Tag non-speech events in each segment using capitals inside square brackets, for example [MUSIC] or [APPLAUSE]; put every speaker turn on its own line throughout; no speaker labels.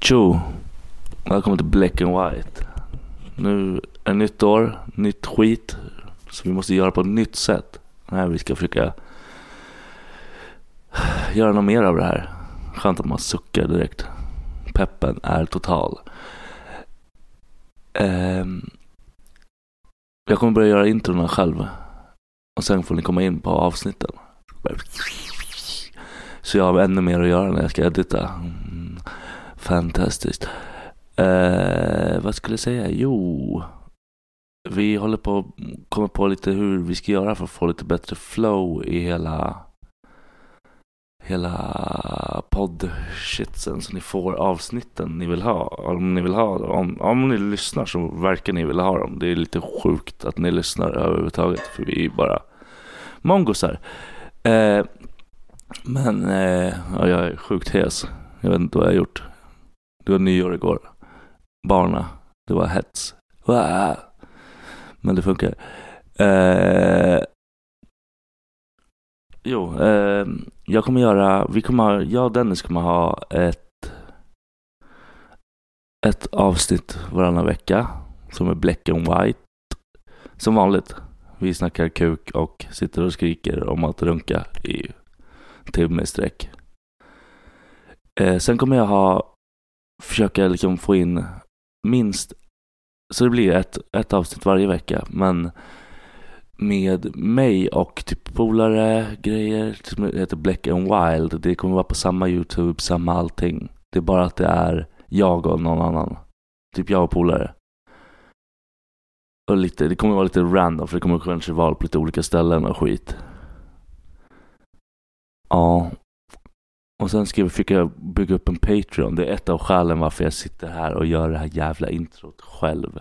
Tjo! Välkommen till Black and White. Nu är nytt år, nytt skit. Så vi måste göra på ett nytt sätt. Nej, vi ska försöka göra något mer av det här. Skönt att man suckar direkt. Peppen är total. Ehm, jag kommer börja göra introna själv. Och sen får ni komma in på avsnitten. Så jag har ännu mer att göra när jag ska edita. Mm. Fantastiskt. Eh, vad skulle jag säga? Jo, vi håller på att komma på lite hur vi ska göra för att få lite bättre flow i hela hela poddshitsen så ni får avsnitten ni vill ha. Om ni vill ha om, om ni lyssnar så verkar ni vilja ha dem. Det är lite sjukt att ni lyssnar överhuvudtaget för vi är ju bara mongosar. Eh, men eh, ja, jag är sjukt hes. Jag vet inte vad jag har gjort. Det var nyår igår. Barna. Det var hets. Wow. Men det funkar. Eh, jo, eh, jag kommer göra, vi kommer ha, jag och Dennis kommer ha ett, ett avsnitt varannan vecka som är black and white. Som vanligt. Vi snackar kuk och sitter och skriker om att runka i en timme i sträck. Eh, sen kommer jag ha, försöka liksom få in minst, så det blir ett, ett avsnitt varje vecka, men med mig och typ polare, grejer, som heter Black and Wild. Det kommer vara på samma YouTube, samma allting. Det är bara att det är jag och någon annan. Typ jag och polare. Och lite, det kommer vara lite random för det kommer kanske vara på lite olika ställen och skit. Ja. Och sen ska vi försöka bygga upp en Patreon. Det är ett av skälen varför jag sitter här och gör det här jävla introt själv.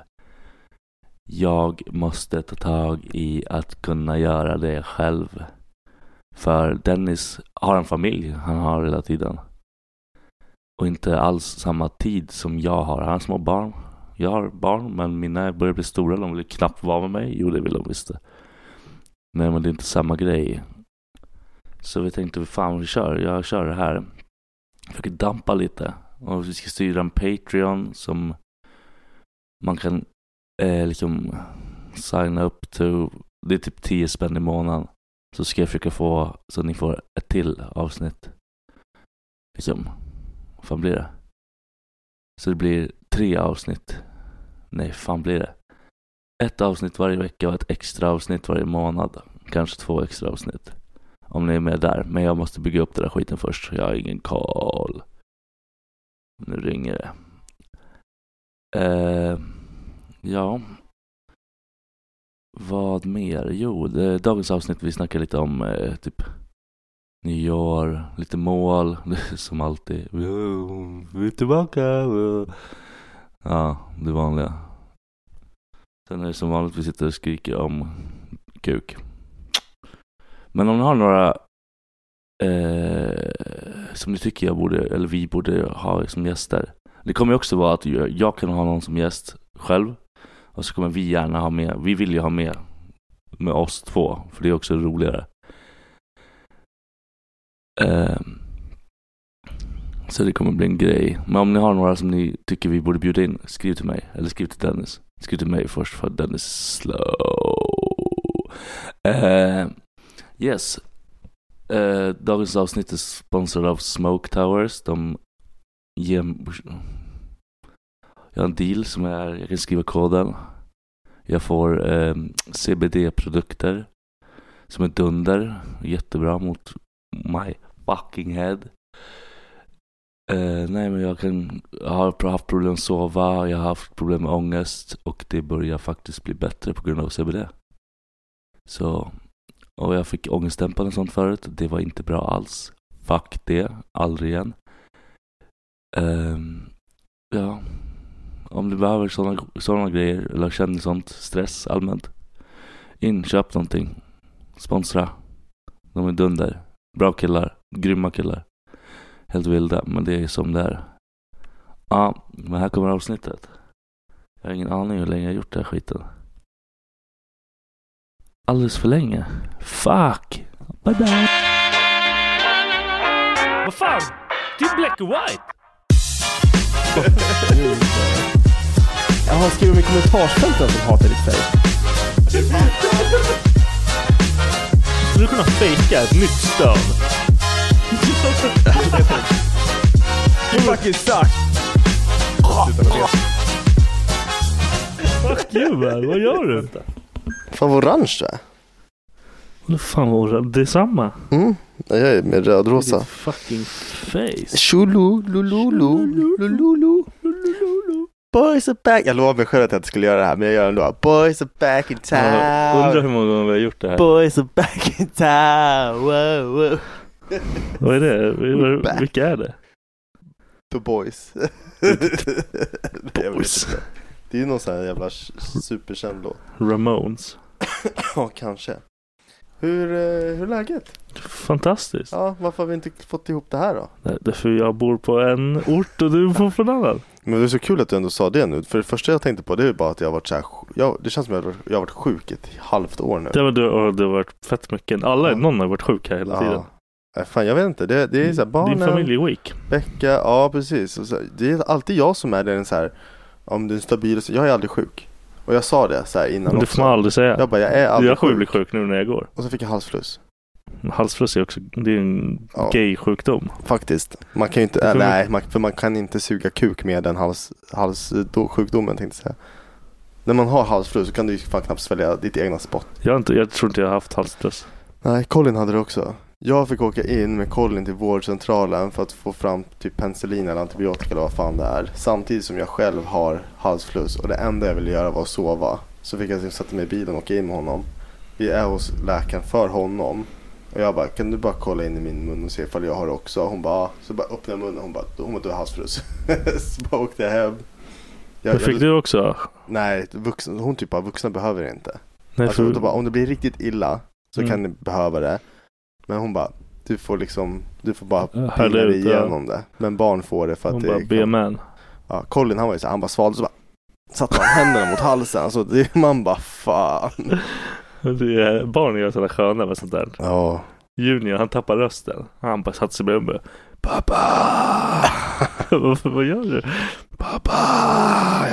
Jag måste ta tag i att kunna göra det själv. För Dennis har en familj han har hela tiden. Och inte alls samma tid som jag har. Han har små barn. Jag har barn, men mina börjar bli stora. De vill knappt vara med mig. Jo, det vill de visst. Nej, men det är inte samma grej. Så vi tänkte, vad fan vi kör, jag kör det här. Försöker dampa lite. Och vi ska styra en Patreon som man kan eh, liksom signa upp till. Det är typ 10 spänn i månaden. Så ska jag försöka få, så ni får ett till avsnitt. Liksom, vad fan blir det? Så det blir tre avsnitt. Nej, fan blir det? Ett avsnitt varje vecka och ett extra avsnitt varje månad. Kanske två extra avsnitt. Om ni är med där. Men jag måste bygga upp den där skiten först. Jag har ingen koll. Nu ringer det. Eh, ja. Vad mer? Jo, det, dagens avsnitt vi snackar lite om eh, typ nyår, lite mål, [LAUGHS] som alltid. Vi är tillbaka! Ja, det vanliga. Sen är det som vanligt vi sitter och skriker om kuk. Men om ni har några eh, som ni tycker jag borde, eller vi borde ha som gäster. Det kommer ju också vara att jag jag kan ha någon som gäst själv. Och så kommer vi gärna ha med, vi vill ju ha med, med oss två. För det är också roligare. Ehm, så det kommer bli en grej. Men om ni har några som ni tycker vi borde bjuda in, skriv till mig. Eller skriv till Dennis. Skriv till mig först för att Dennis är slow. Ehm, yes. Eh, dagens avsnitt är sponsrad av Smoke Towers. De ger... Jag har en deal som är, jag kan skriva koden. Jag får eh, CBD-produkter som är dunder. Jättebra mot my fucking head. Eh, nej men jag, kan, jag har haft problem att sova, jag har haft problem med ångest och det börjar faktiskt bli bättre på grund av CBD. Så och jag fick ångestdämpande och sånt förut. Det var inte bra alls. Fuck det. Aldrig igen. Ehm, ja. Om du behöver sådana såna grejer eller känner sånt stress allmänt. In, köp någonting. Sponsra. De är dunder. Bra killar. Grymma killar. Helt vilda, men det är som det är. Ja, men här kommer avsnittet. Jag har ingen aning hur länge jag har gjort den här skiten alldeles för länge. Fuck! Bye-bye.
Vad fan? Till Black and White?
Jaha, skriver de i kommentarsfältet att de hatar ditt face?
Skulle du kunna fejka ett nytt stön?
You fucking suck!
Fuck you man, vad gör du?
Fan vad orange du är.
Vad fan var det? Det är samma.
Mm. Nej, Jag är mer
Ditt
rödrosa.
fucking face.
Shulu, lululu, lululu. Boys are back. Jag lovade mig själv att jag inte skulle göra det här, men jag gör det ändå. Boys are back in
Jag Undrar
town.
hur många gånger vi har gjort det här.
Boys are back in town. Wow, wow.
[LAUGHS] Vad är det? Vil- Vilka är det?
The boys. [LAUGHS] boys. Det är ju någon sån här jävla s- superkänd låt.
Ramones.
[COUGHS] Ja, kanske. Hur, eh, hur är läget?
Fantastiskt.
Ja, varför har vi inte fått ihop det här då?
Nej, Därför jag bor på en ort och du bor på en annan.
Men det är så kul att du ändå sa det nu. För det första jag tänkte på det är ju bara att jag har varit så här, sj- jag, det känns som att jag har varit- jag har varit sjuk ett halvt år nu.
Det har, du, och det har varit fett mycket. Alla,
Ja.
Någon har varit sjuk här hela tiden.
Nej, Fan jag vet inte, det, det är så här, barnen,
Din familj är weak.
Becka, ja precis. Och så, det är alltid jag som är den så här, om du är stabil, och så- jag är aldrig sjuk. Och jag sa det så här innan
Men det
också.
får man aldrig säga.
Jag bara, jag är aldrig
Jag kommer bli
sjuk.
sjuk nu när jag går.
Och så fick jag halsfluss.
Halsfluss är också, det är en
Ja.
gay-sjukdom.
Faktiskt. Man kan ju inte,
Det
äh,
får vi-
nej, man, för man kan inte suga kuk med den hals, hals, då, sjukdomen tänkte jag säga. När man har halsfluss så kan du ju fan knappt svälja ditt egna spott.
Jag, har inte, jag tror inte jag har haft halsfluss.
Nej, Colin hade det också. Jag fick åka in med Colin till vårdcentralen för att få fram typ penicillin eller antibiotika eller vad fan det är. Samtidigt som jag själv har halsfluss och det enda jag ville göra var att sova. Så fick jag typ sätta mig i bilen och åka in med honom. Vi är hos läkaren för honom. Och jag bara, kan du bara kolla in i min mun och se ifall jag har det också? Hon bara, "Ja." så bara öppnade jag munnen hon bara, hon bara, du har halsfluss. [LAUGHS] så bara åkte jag hem.
Men fick du också?
Nej, vuxna, hon typ bara, vuxna behöver det inte.
Nej,
Alltså,
för,
hon bara, om det blir riktigt illa så
Mm.
kan ni behöva det. Men hon bara, du får liksom, du får bara
Ja,
pilla
härligt,
dig
ja.
igenom det. Men barn får det för att
hon
det
bara, be man.
ja, Colin han var ju så här, han bara svalde så bara satte han händerna mot halsen. Så det, man bara fan.
Det är, barn är sådana sköna med sånt där.
Ja.
Junior, han tappar rösten. Han bara satte sig bredvid mig. [LAUGHS] Pappa! vad, vad gör du? Pappa!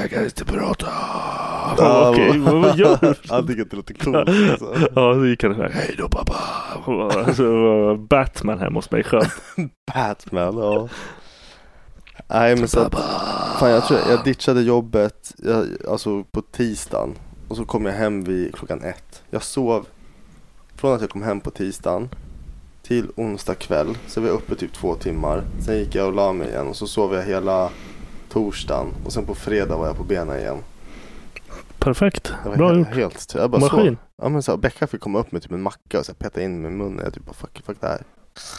Jag kan inte prata. Han bara, Okej, vad, vad gör [LAUGHS] du?
Han tycker att det låter coolt.
[LAUGHS]
Alltså.
Ja, så gick han iväg. Hej då pappa! [LAUGHS] Alltså, det var Batman hemma hos mig. Skönt.
[LAUGHS] Batman, ja. Nej men så att, fan jag tror jag ditchade jobbet, jag, alltså på tisdagen. Och så kom jag hem vid klockan ett. Jag sov från att jag kom hem på tisdagen till onsdag kväll. Så var jag uppe typ två timmar. Sen gick jag och la mig igen och så sov jag hela torsdagen. Och sen på fredag var jag på benen igen.
Perfekt.
Det var
Bra
he-
gjort.
Helt, jag bara sov.
Maskin.
Ja men så här, Becka fick komma upp med typ en macka och så här, peta in mig i munnen. Jag typ bara fuck, fuck det här.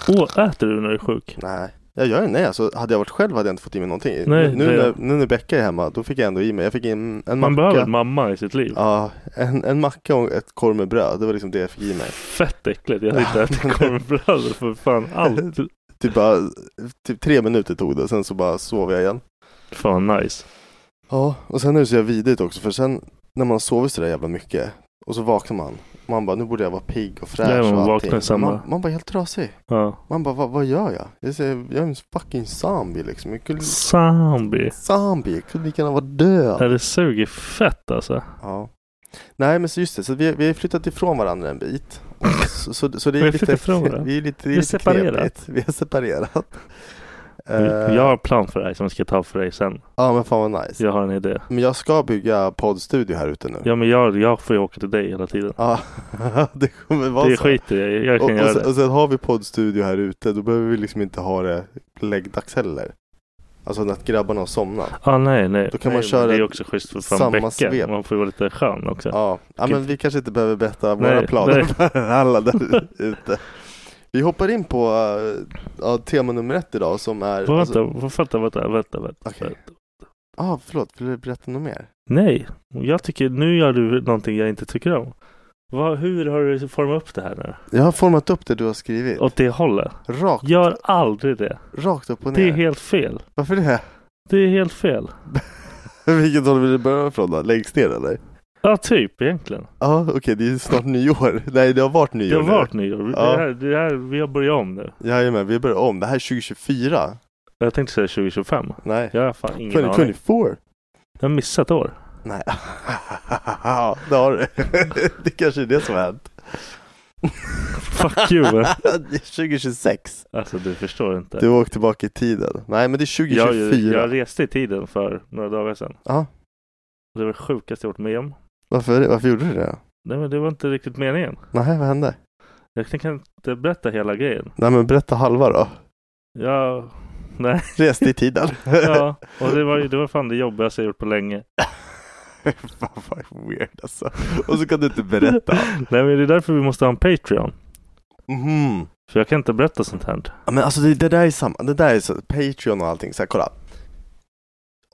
Åh, äter du när du är sjuk?
Nej. Jag gör det, nej alltså, hade jag varit själv hade jag inte fått i mig någonting.
Nej,
nu,
det-
när, nu när Becka är hemma, då fick jag ändå i mig. Jag fick in
Man
en macka.
behöver en mamma i sitt liv.
Ja, en, en macka och ett korv med bröd. Det var liksom det jag fick i mig.
Fett äckligt. Jag hade inte ätit korv med bröd för fan allt.
[LAUGHS] Typ, bara, typ tre minuter tog det, sen så bara sov jag igen.
Fan nice.
Ja, och sen är det så jävla vidrigt också för sen när man sover så där jävla mycket och så vaknar man. Man bara, nu borde jag vara pigg och fräsch
Ja, man
och allting.
vaknar samma.
Man, man bara helt trasig.
Ja.
Man bara, vad, vad gör jag? Jag, säger, jag är en fucking zombie liksom. Jag kunde,
Zombie.
zombie, jag kunde lika gärna vara död.
Ja. Det suger fett alltså.
Ja. Nej men så just det, så vi, vi har flyttat ifrån varandra en bit. Och Så, så, så det
Vi
är
har
lite,
flyttat ifrån varandra.
vi är
Vi
lite, vi
är
är
separerat.
separerat. Vi är separerat. Eh,
Jag har en plan för dig som jag ska ta för dig sen.
Ja men fan vad nice.
Jag har en idé.
Men jag ska bygga poddstudio här ute nu.
Ja men jag, jag får ju åka till dig hela tiden.
Ja, [LAUGHS] det kommer vara
Det
så.
skiter jag i. Jag
och,
kan
och,
göra
sen,
det.
och sen har vi poddstudio här ute, då behöver vi liksom inte ha det läggdags heller. Alltså när grabbarna har somnat.
Ah, nej nej.
Då kan
nej,
man köra
men Det är också schysst för fan
samma
Becka.
svep.
Man får ju vara lite skön också.
Ja, ja men vi kanske inte behöver berätta våra
Nej,
planer
nej.
för
[LAUGHS]
alla där ute. Vi hoppar in på eh, ja, tema nummer ett idag som är...
Vänta,
alltså-
vänta, vänta, vänta, vänta.
Okej.
vänta.
ah, förlåt, vill du berätta något mer?
Nej, jag tycker nu gör du någonting jag inte tycker om. Vad, hur har du format upp det här nu?
Jag har format upp det du har skrivit.
Åt det hållet?
Rakt,
Gör aldrig det.
rakt upp och ner.
Det är helt fel.
Varför det?
Det är helt fel.
Vilket håll vill du börja ifrån då? Längst ner eller?
Ja, typ egentligen.
Ja, okej, det är ju snart nyår. [LAUGHS] Nej, det har varit nyår
Det har
nu.
varit nyår.
Ja.
Det här, det här, vi har börjat om nu.
Jajamän, vi börjar om. Det här är 2024.
Jag tänkte säga 2025.
Nej.
Jag har fan ingen aning.
2024.
Jag har missat år.
Nej. [LAUGHS] Ja, det har du. [LAUGHS] Det kanske är det som har hänt.
Fuck
[LAUGHS]
you.
Det är 2026.
Alltså du förstår inte.
Du åkte tillbaka i tiden. Nej, men det är 2024.
jag, jag reste i tiden för några dagar sedan.
Ja.
Det var det sjukaste jag varit med om.
Varför, varför gjorde du det?
Nej men det var inte riktigt meningen.
Nej, vad hände?
Jag kan inte berätta hela grejen.
Nej, men berätta halva då.
Jag
Reste i tiden. [LAUGHS]
Ja, och det var, ju- det var fan det jobbigaste jag gjort på länge.
Fan vad weird alltså. Och så kan du inte berätta.
[LAUGHS] Nej men det är därför vi måste ha en Patreon.
Mhm.
För jag kan inte berätta sånt här.
Ja, men alltså det, det där är samma, det där är så, Patreon och allting, så här, kolla.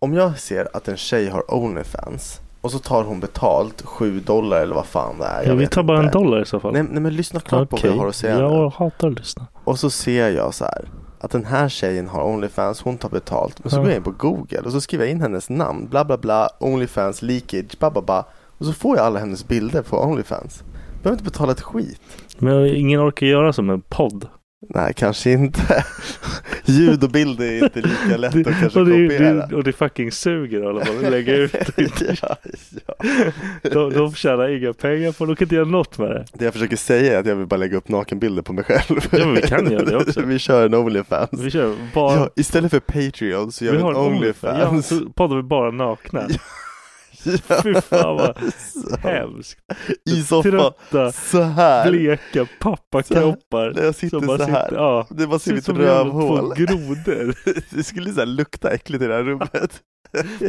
Om jag ser att en tjej har Onlyfans och så tar hon betalt 7 dollar eller vad fan det är. Jag
vi
vet
tar bara
inte.
en dollar i så fall.
Nej, nej men lyssna klart på vad jag har att säga nu.
jag hatar att lyssna.
Och så ser jag så här att den här tjejen har Onlyfans, hon tar betalt. Men så
Ja.
går jag in på Google och så skriver jag in hennes namn, bla bla bla, Onlyfans, leakage, bla bla bla. Och så får jag alla hennes bilder på Onlyfans. Behöver inte betala ett skit.
Men ingen orkar göra som en podd.
Nej, kanske inte. [LAUGHS] Ljud och bild är inte lika lätt att kanske
och, det,
kopiera.
det, och det fucking suger att hålla på
[LAUGHS]
och lägga ut det.
ja, ja.
De, de tjänar inga pengar på det. De kan inte göra något med det.
Det jag försöker säga är att jag vill bara lägga upp nakenbilder på mig själv.
Ja, men vi kan göra det också.
[LAUGHS] vi kör en Onlyfans.
Vi kör bara...
Ja, istället för Patreon så gör vi en
Ja,
Onlyfans.
så poddar vi bara nakna.
Ja,
[LAUGHS] Fy fan vad
[LAUGHS] så.
hemskt.
I soffan.
Trötta,
Så här.
bleka pappakroppar.
När jag sitter
som bara
så här.
Sitter, ja.
Det bara ser
Ser ut
mitt
som jävla två
rövhål. [LAUGHS]
grodor.
Det skulle så här lukta äckligt i det här rummet.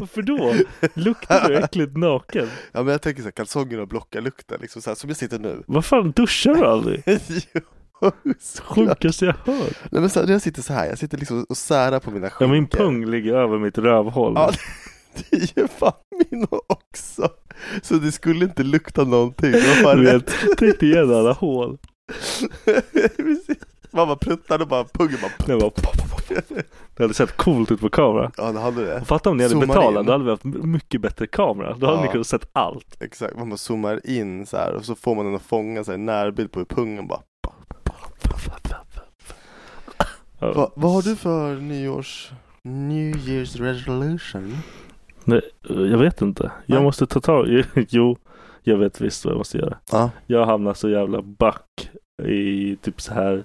Varför då? Luktar du äckligt naken?
Ja men jag tänker så här kalsongerna blockar lukten liksom så här som jag sitter nu. [LAUGHS]
Vad fan duschar du aldrig?
Jo, såklart.
Sjukaste jag hört.
Nej men så här, jag sitter så här, jag sitter liksom och särar på mina
Ja,
skinkor.
min pung ligger över mitt rövhål.
Ja, det är ju fan min också. Så det skulle inte lukta någonting. Det var
Du
fan
vet,
rätt.
Tänk dig igen alla hål.
[LAUGHS] Precis. Man bara pruttar och bara pungen
Det
bara...
var pop, pop, pop.
[LAUGHS]
Det hade sett coolt ut på kamera.
Ja det hade det.
Fatta om ni hade
Zoomar
betalat,
in.
då hade vi haft m- mycket bättre kamera. Då hade
Ja.
ni kunnat sett allt.
Exakt, man bara zoomar in så här och så får man den att fånga så här, en närbild på hur pungen bara.
Ja.
Va, vad har du för nyårs... New year's resolution?
Nej, jag vet inte. Jag
Nej.
måste ta tag i... [LAUGHS] Jo, jag vet visst vad jag måste göra.
Ja.
Jag hamnar så jävla back i typ så här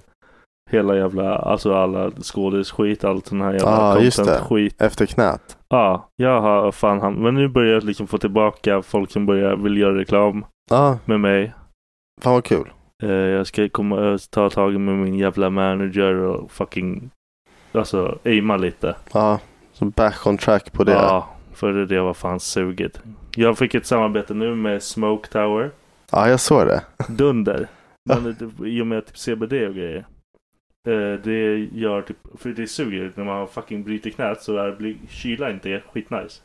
hela jävla, alltså alla skådisskit, allt den här jävla
Ja, Ah, just det.
content-skit.
Efter knät.
Ja, jag har fan ham- Men nu börjar jag liksom få tillbaka folk som börjar vill göra reklam
Ja,
med mig.
fan vad kul.
Eh, jag ska komma eh, ta tag med min jävla manager och fucking Alltså aima lite.
Ja, så back on track på det.
Ja, för det- det var fan suget. Jag fick ett samarbete nu med Smoke Tower.
Ja, jag såg det. [LAUGHS]
Dunder. Men det- I och med typ CBD och grejer. Eh, Det gör typ, för det suger när man fucking bryter knät så är, blir, kyla inte skitnice.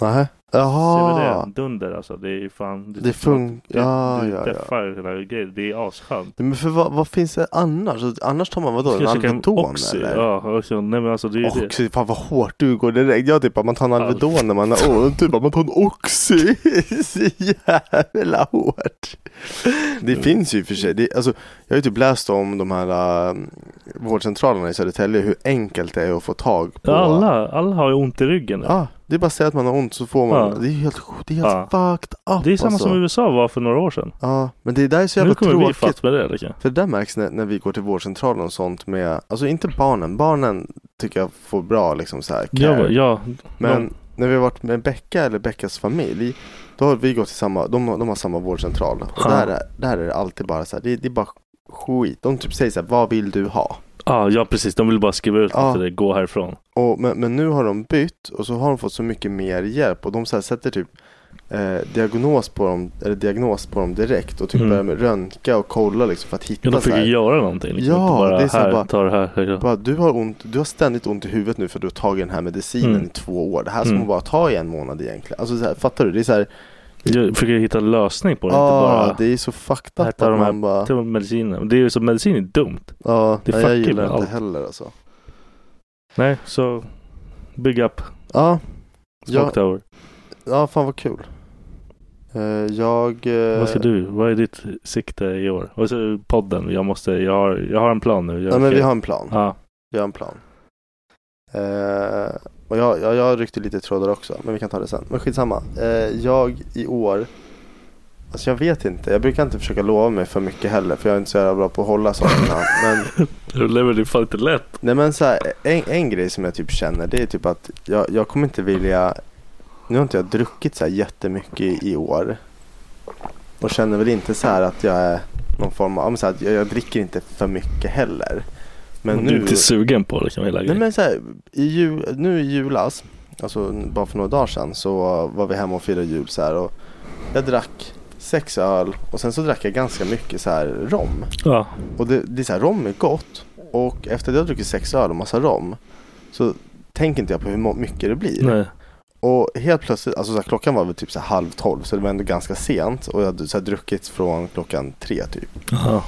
Nähä?
CBD,
Jaha!
dunder alltså. Det är fan.
Det funkar... Ja,
du
ja, ja.
deffar hela grejen. Det är asskönt.
Men för vad, vad finns det annars? Annars tar man vadå? En
Ska jag käka
Alvedon
Oxy?
eller?
Ja, också. Nej men alltså det är ju det.
Oxy, fan vad hårt du går direkt. Jag typ bara, man tar en
Ja.
Alvedon när man har ont. Du bara, man tar en Oxy. Så jävla hårt. Det finns ju i och för sig. Det, alltså, jag har ju typ läst om de här äh, vårdcentralerna i Södertälje. Hur enkelt det är att få tag på.
Alla, alla har ju ont i ryggen nu.
Ja, det är bara att säga att man har ont så får man.
Ja.
Det är helt, det är helt fucked up
Det är samma
alltså.
som USA var för några år sedan.
Ja, men det där är så
Nu
jävla
kommer vi
tråkigt.
fatt med det. Liksom.
För det där märks när, när vi går till vårdcentralen och sånt med, alltså inte barnen, barnen tycker jag får bra liksom så här care.
Ja, ja,
Men när vi har varit med Becka eller Beckas familj, då har vi gått till samma, de, har- de har samma vårdcentral. Och
Ja.
där, är- där är det alltid bara så här, det, det är bara skit. De typ säger så här, vad vill du ha?
ja, ja, precis. De vill bara skriva ut
Ja.
ja. det. Gå härifrån.
Och, men, men nu har de bytt och så har de fått så mycket mer hjälp och de så här sätter typ eh, diagnos, på dem, eller diagnos på dem direkt och typ
Mm.
börjar med röntga och kolla liksom för att hitta
Ja, de
så
fick ju
här,
göra någonting. Liksom.
Ja,
Inte bara,
det är så här
här,
bara-
ta det här. Ja.
Bara, du, har ont, du har ständigt ont i huvudet nu för du har tagit den här medicinen
Mm.
i två år. Det här ska
Mm.
man bara ta i en månad egentligen. Alltså, så här, fattar du? Det är så här,
Jag försöker hitta en lösning på det.
ah,
inte
det är så fucked
bara
up
äta
att
de här
man bara,
till medicinen. Det är ju så medicin är dumt.
ja,
det
nej,
fuckar
jag
ju
gillar
med
inte
allt.
heller alltså.
Nej, så big up.
Ja,
Smoke
ja,
tower.
ja, fan vad kul. Eh, jag... eh,
Vad ska du? Vad är ditt sikte i år? Och så podden. Jag måste, jag har, jag har en plan nu. Jag
Nej men
ska-
vi har en plan.
Ja,
Vi har en plan. Eh, och jag, jag, jag ryckte lite trådar också, men vi kan ta det sen. Men skitsamma. Eh, jag i år, alltså jag vet inte. Jag brukar inte försöka lova mig för mycket heller, för jag är inte så jävla bra på att hålla sakerna. men,
du [LAUGHS] lever det är fan inte lätt.
nej men så här, en, en grej som jag typ känner, det är typ att jag, jag kommer inte vilja, nu har inte jag druckit så här jättemycket i, i år. Och känner väl inte så här att jag är någon form av, ja, men så här, att jag, jag dricker inte för mycket heller. Men
Du är
nu...
inte sugen på liksom hela
Nej
grejen.
men så här, i jul, nu i julas, alltså bara för några dagar sedan så var vi hemma och firade jul så här och jag drack sex öl och sen så drack jag ganska mycket så här rom.
Ja,
Och det, det är så här, rom är gott och efter att jag druckit sex öl och massa rom så tänker inte jag på hur må- mycket det blir.
nej.
Och helt plötsligt, alltså så här, klockan var väl typ så här halv tolv så det var ändå ganska sent och jag hade så här, druckit från klockan tre typ.
Ja.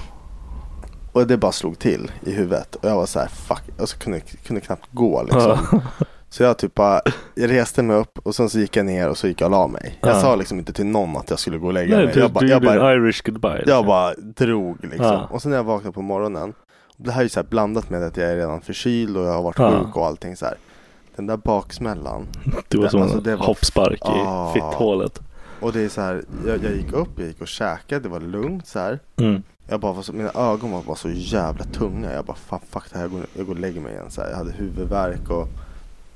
Och det bara slog till i huvudet och jag var så här fuck, alltså kunde, kunde knappt gå liksom.
[LAUGHS]
Så jag typ bara, jag reste mig upp och sen så gick jag ner och så gick jag och la mig. Jag
Ja.
sa liksom inte till någon att jag skulle gå och lägga
Nej,
mig.
du,
jag bara,
du
jag,
gjorde
bara,
en Irish goodbye. liksom.
jag bara drog liksom.
Ja.
Och sen när jag vaknade på morgonen, och det här är ju så här blandat med att jag är redan förkyld och jag har varit
Ja.
sjuk och allting så här. Den där baksmällan.
det var
det-
som
alltså,
en
det var-
hoppspark i
Ah.
fitthålet.
Och det är så här, jag, jag gick upp, jag gick och käkade, det var lugnt så här.
Mm.
Jag bara var så, mina ögon var bara så jävla tunga. Jag bara fan fuck det här, jag går, jag går och lägger mig igen. Så här, jag hade huvudvärk och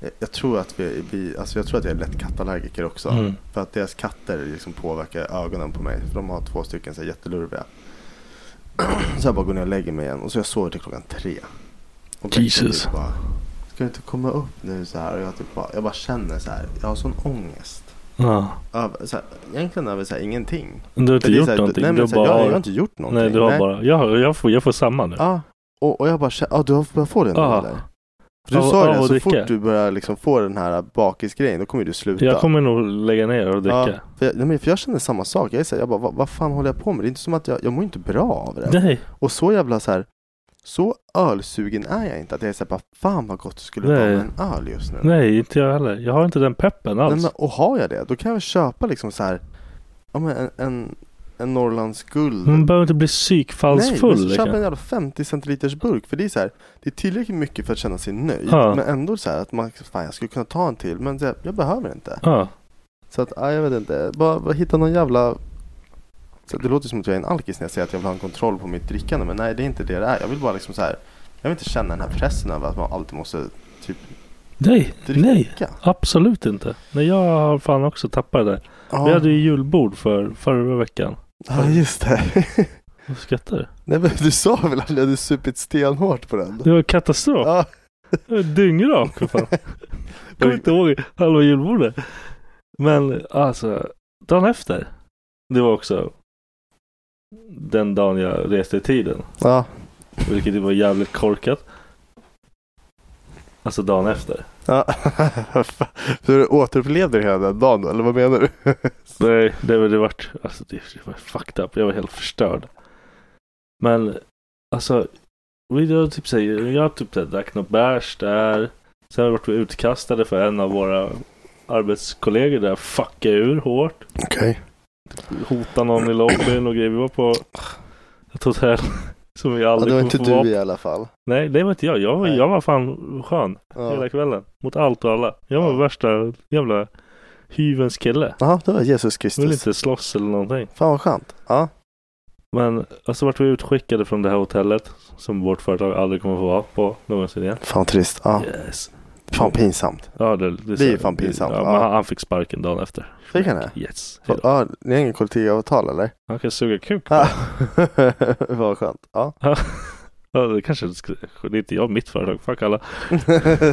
jag, jag tror att vi, vi, alltså jag tror att jag är lätt kattallergiker också.
Mm.
För att deras katter liksom påverkar ögonen på mig. För de har två stycken så här, jättelurviga. Så jag bara går ner och lägger mig igen och så jag sover till klockan tre. Och Becka
Jesus.
Typ bara, Ska du inte komma upp nu så här? Och jag, typ bara, jag bara känner så här, jag har sån ångest.
Ja.
Över, så här, egentligen över så här, ingenting.
Du har
Det
inte
är
gjort
så här,
någonting.
Nej,
du
men,
har
så här,
bara...
jag, jag har inte gjort någonting.
Nej, du har bara... Jag, jag, får, jag får samma nu.
Ja, och, och jag bara känner, ja du har börjat få det nu
Ja.
eller? För du
Av-
sa ju
av
det,
att
så
dricka.
fort du börjar liksom få den här bakisgrejen, då kommer ju du sluta.
Jag kommer nog lägga ner och
ja,
dricka.
för, jag, nej, men för jag känner samma sak, jag är så här, jag bara, vad, vad fan håller jag på med? Det är inte som att jag, jag mår inte bra av det.
Nej,
Och så jävla så här, så ölsugen är jag inte att jag är så här, bara, fan vad gott det skulle vara
Nej.
med en öl just nu.
nej, inte jag heller. Jag har inte den peppen alls.
Nej, men, och har jag det, då kan jag väl köpa liksom så här, ja men en, en, en Norrlands guld.
Man behöver inte bli
Nej,
psykfallsfull.
men så köp en
liksom.
jävla 50 centiliters burk för det är så här, det är tillräckligt mycket för att känna sig nöjd
Ja.
men ändå så här att man, fan jag skulle kunna ta en till men jag, jag behöver inte.
Ja.
Så att, ja, jag vet inte, bara, bara hitta någon jävla så det låter som att jag är en alkis när jag säger att jag vill ha en kontroll på mitt drickande men nej det är inte det det är. Jag vill bara liksom så här, jag vill inte känna den här pressen över att man alltid måste typ
Nej,
dricka.
nej. Absolut inte. Nej, jag har fan också tappat det där.
Ja,
Vi hade ju julbord för, förra veckan.
ja just det.
[LAUGHS] Vad skrattar du?
nej men du sa väl att du hade supit stenhårt på den?
Det var katastrof.
Ja.
Jag är dyngrak för
[LAUGHS]
fan. Jag kommer inte ihåg halva julbordet. Men alltså, dagen efter. Det var också den dagen jag reste i tiden.
ja.
Vilket ju var jävligt korkat. Alltså dagen efter.
Ja. Så du återupplevde det hela den dagen eller vad menar du?
Alltså, Nej, det var det vart. Alltså det det var fucked up. Jag var helt förstörd. Men alltså. Vi då typ säger, jag typ så här drack något bärs där. Sen vart vi utkastade för en av våra arbetskollegor där fuckade ur hårt.
Okej.
hota någon i lobbyn och grejer. Vi var på ett hotell [LAUGHS] som vi
Ja,
aldrig
det var inte
kommer få vara
du i
på.
alla fall.
Nej, det var inte jag. Jag var,
Nej.
jag var fan skön hela
Ja,
kvällen. Mot allt och alla. Jag var
Ja.
värsta jävla hyvens kille.
Aha, det var Jesus Kristus.
Vill inte slåss eller någonting.
Fan vad skönt. Ja.
Men alltså vart vi utskickade från det här hotellet som vårt företag aldrig kommer få vara på någonsin igen.
Fan vad trist. Ja.
Yes.
Fan pinsamt.
Ja, det, det,
Det är fan pinsamt.
Ja,
Ja.
men han, han fick sparken dagen efter.
Fick han det?
Yes. Hejdå.
Ja, ni har inget kollektivavtal eller?
Han kan suga kuk.
Ja. [LAUGHS] vad skönt. Ja.
[LAUGHS] Ja, det kanske inte skulle- det är inte jag, mitt företag. Fuck alla.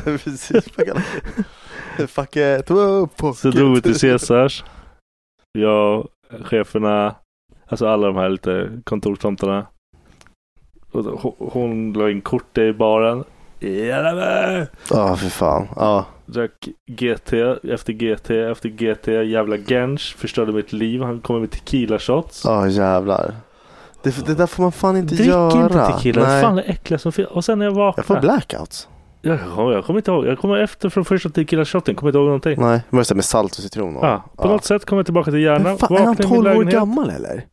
Precis. Fuck, alla. [LAUGHS] fuck eh, it. Whoa, fuck
Så
it.
drog vi till Caesars. Jag, cheferna, alltså alla de här lite kontorstomtarna. Och då- ho- Hon la in kortet i baren. Jävlar!
Ja, för fan. Ja.
Drack GT efter GT efter GT. Jävla Gensh förstörde mitt liv. Han kommer med tequila shots.
Ja, jävlar. Det, det där får man fan inte
Drick
göra.
inte tequila. Det är
Nej.
fan det äckliga som finns. Och sen när jag
Jag får
vaknade.
blackouts.
Jag, kommer- jag kommer inte ihåg. Jag kommer efter från första tequila shoten. Kommer inte ihåg någonting.
Nej, det var just det med salt och citron. och-
Ja, på
Ja.
något sätt kommer jag tillbaka till hjärnan.
Men fan, är han
Vaknar i min
12 år
lägenhet.
gammal eller?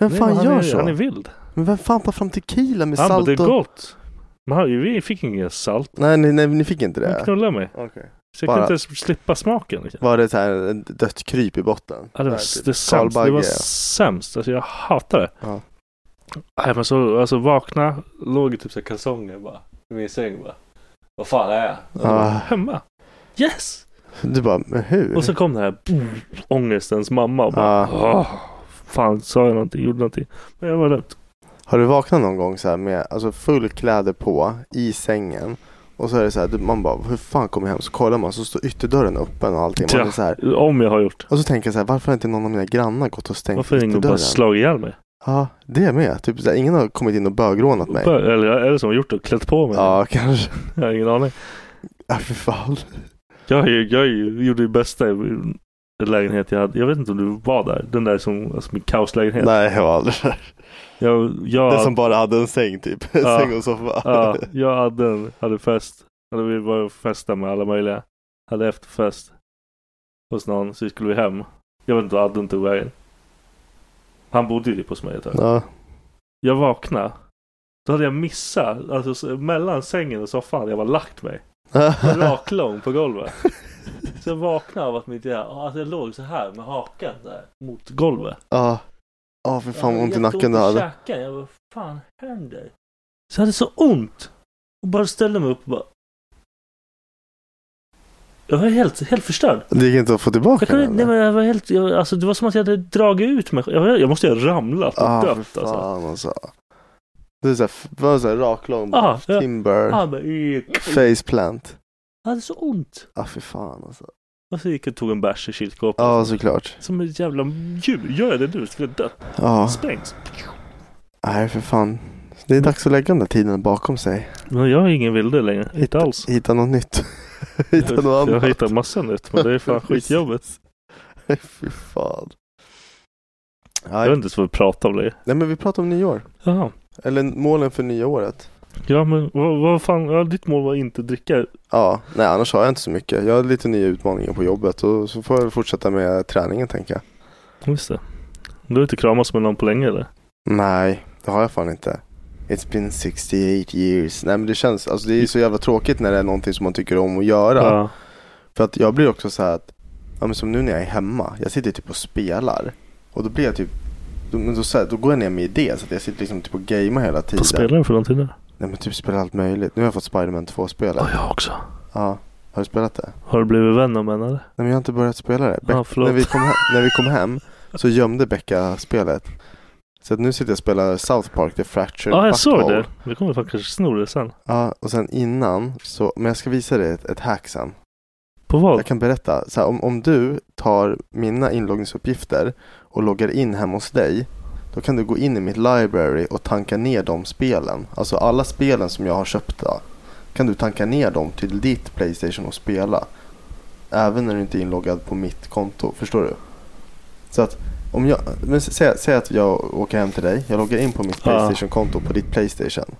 Vem
Nej,
fan
men han
gör
är,
så?
Han är vild.
Men vem fan tar fram tequila med
Han bara,
salt
det är
och...
gott. Men han, vi fick inget salt.
Nej, nej, nej, ni fick inte
Han
det?
knullade mig.
Okej.
Så jag
Bara-
kunde inte ens slippa smaken. Liksom.
Var det så här en dött kryp i botten?
Ja, det
Nej,
var
typ
det sämst. Det var
skalbagge.
sämst. Alltså, jag hatar det.
Ja.
Nej, men så, alltså, vakna, låg i typ så här kalsonger bara. I min säng bara. Vad fan är jag? Jag bara,
Ah.
Hemma. Yes!
Du bara, men hur?
Och så kom den här ångestens mamma och bara.
Ah.
"Åh, fan, sa jag någonting? Gjorde någonting? Men jag var död.
Har du vaknat någon gång så här med alltså full kläder på i sängen? Och så är det så här, du- man bara, hur fan kom jag hem? Så kollar man, så står ytterdörren öppen och allting. Man är så här,
Om jag har gjort.
och så tänker jag så här, varför har inte någon av mina grannar gått och stängt
Varför har ingen bara
ytterdörren?
slagit ihjäl mig?
Ja, det med. Typ så här, ingen har kommit in och bögrånat mig.
Bö- Eller, eller som har gjort det och klätt på mig.
Ja, kanske.
[LAUGHS] Jag har ingen aning.
Ja, för fan.
Jag, jag, jag gjorde det bästa i lägenhet jag hade. Jag vet inte om du var där. Den där som, alltså min kaoslägenhet.
Nej, jag var aldrig där.
Jag, jag,
Den som bara hade en säng typ. En
Ja.
säng och soffa.
ja, jag hade, en- hade fest. Hade vi var och festade med alla möjliga. Hade efterfest. Hos någon. Så skulle vi hem. Jag vet inte vad Adden tog vägen. Han bodde ju typ hos mig ett tag.
Ja.
Jag vaknade. Då hade jag missat. Alltså så- mellan sängen och soffan. hade Jag var lagt mig. raklång på
[LAUGHS]
golvet. Så jag vaknade av att mitt hjärta, alltså jag låg så här med hakan där mot golvet.
Ja. Ja, för fan
Jag
vad ont i nacken
jätteont
du hade.
käken. Jag bara, vad fan händer? Så jag hade så ont. Och bara ställde mig upp och bara. Jag var helt, helt förstörd.
Det gick inte att få
Jag,
tillbaka
kunde,
den,
nej,
eller?
men jag var helt, jag, alltså det var som att jag hade dragit ut mig. Jag, jag måste ju ha ramlat och
Ja, Ah, för
dött alltså.
fan alltså. Det är så här, det var så här raklång,
Ja, ja.
timber,
Ah, men, eh,
faceplant.
jag hade så ont.
Ja, för fan alltså.
Och så gick jag och tog en bärs i kylskåpet.
Ja, såklart.
Som ett jävla djur. Gör jag det nu skulle jag dö.
Ja,
Sprängs.
nej för fan. Det är dags att lägga den där tiden bakom sig.
Men jag är ingen vilde längre. Inte alls.
Hitta något nytt. [LAUGHS] Hitta något
jag
annat.
har hittat massa nytt men det är fan
[LAUGHS] Precis.
skitjobbigt.
Fy fan.
Jag
Nej.
vet inte ens vad vi pratar om längre.
Nej men vi pratar om nyår.
Jaha.
Eller målen för nya året.
Ja men vad, vad fan, ja, ditt mål var inte dricka.
Ja, nej annars har jag inte så mycket. Jag har lite nya utmaningar på jobbet och så får jag väl fortsätta med träningen tänker jag.
Just det. Du har inte kramats med någon på länge eller?
Nej, det har jag fan inte. It's been 68 years. Nej men det känns, alltså det är ju så jävla tråkigt när det är någonting som man tycker om att göra.
Ja.
För att jag blir också så här att, ja men som nu när jag är hemma, jag sitter typ och spelar. Och då blir jag typ, då, men då, så här, då går jag ner med idé så att jag sitter liksom typ och gamer hela tiden.
Vad spelar du för någonting nu?
Nej men typ spelar allt möjligt. Nu har jag fått Spiderman 2-spelet.
Ja, jag också.
Ja, har du spelat det?
Har du blivit vän om en eller?
Nej men jag har inte börjat spela det.
Ja,
Beck-
förlåt.
när, vi kom hem, när vi kom hem så gömde Becka spelet. Så att nu sitter jag och spelar South Park, The Fractured
Ja, jag
Butthole.
såg det. Vi kommer fan kanske sno det sen.
Ja, och sen innan så, men jag ska visa dig ett, ett hack sen.
På vad?
Jag kan berätta, så här, om, om du tar mina inloggningsuppgifter och loggar in hemma hos dig, Då kan du gå in i mitt library och tanka ner de spelen. Alltså alla spelen som jag har köpta. Kan du tanka ner dem till ditt Playstation och spela. Även när du inte är inloggad på mitt konto. Förstår du? Så att om jag, men sä- säg, säg att jag åker hem till dig. Jag loggar in på mitt
Ja.
Playstation-konto på ditt Playstation.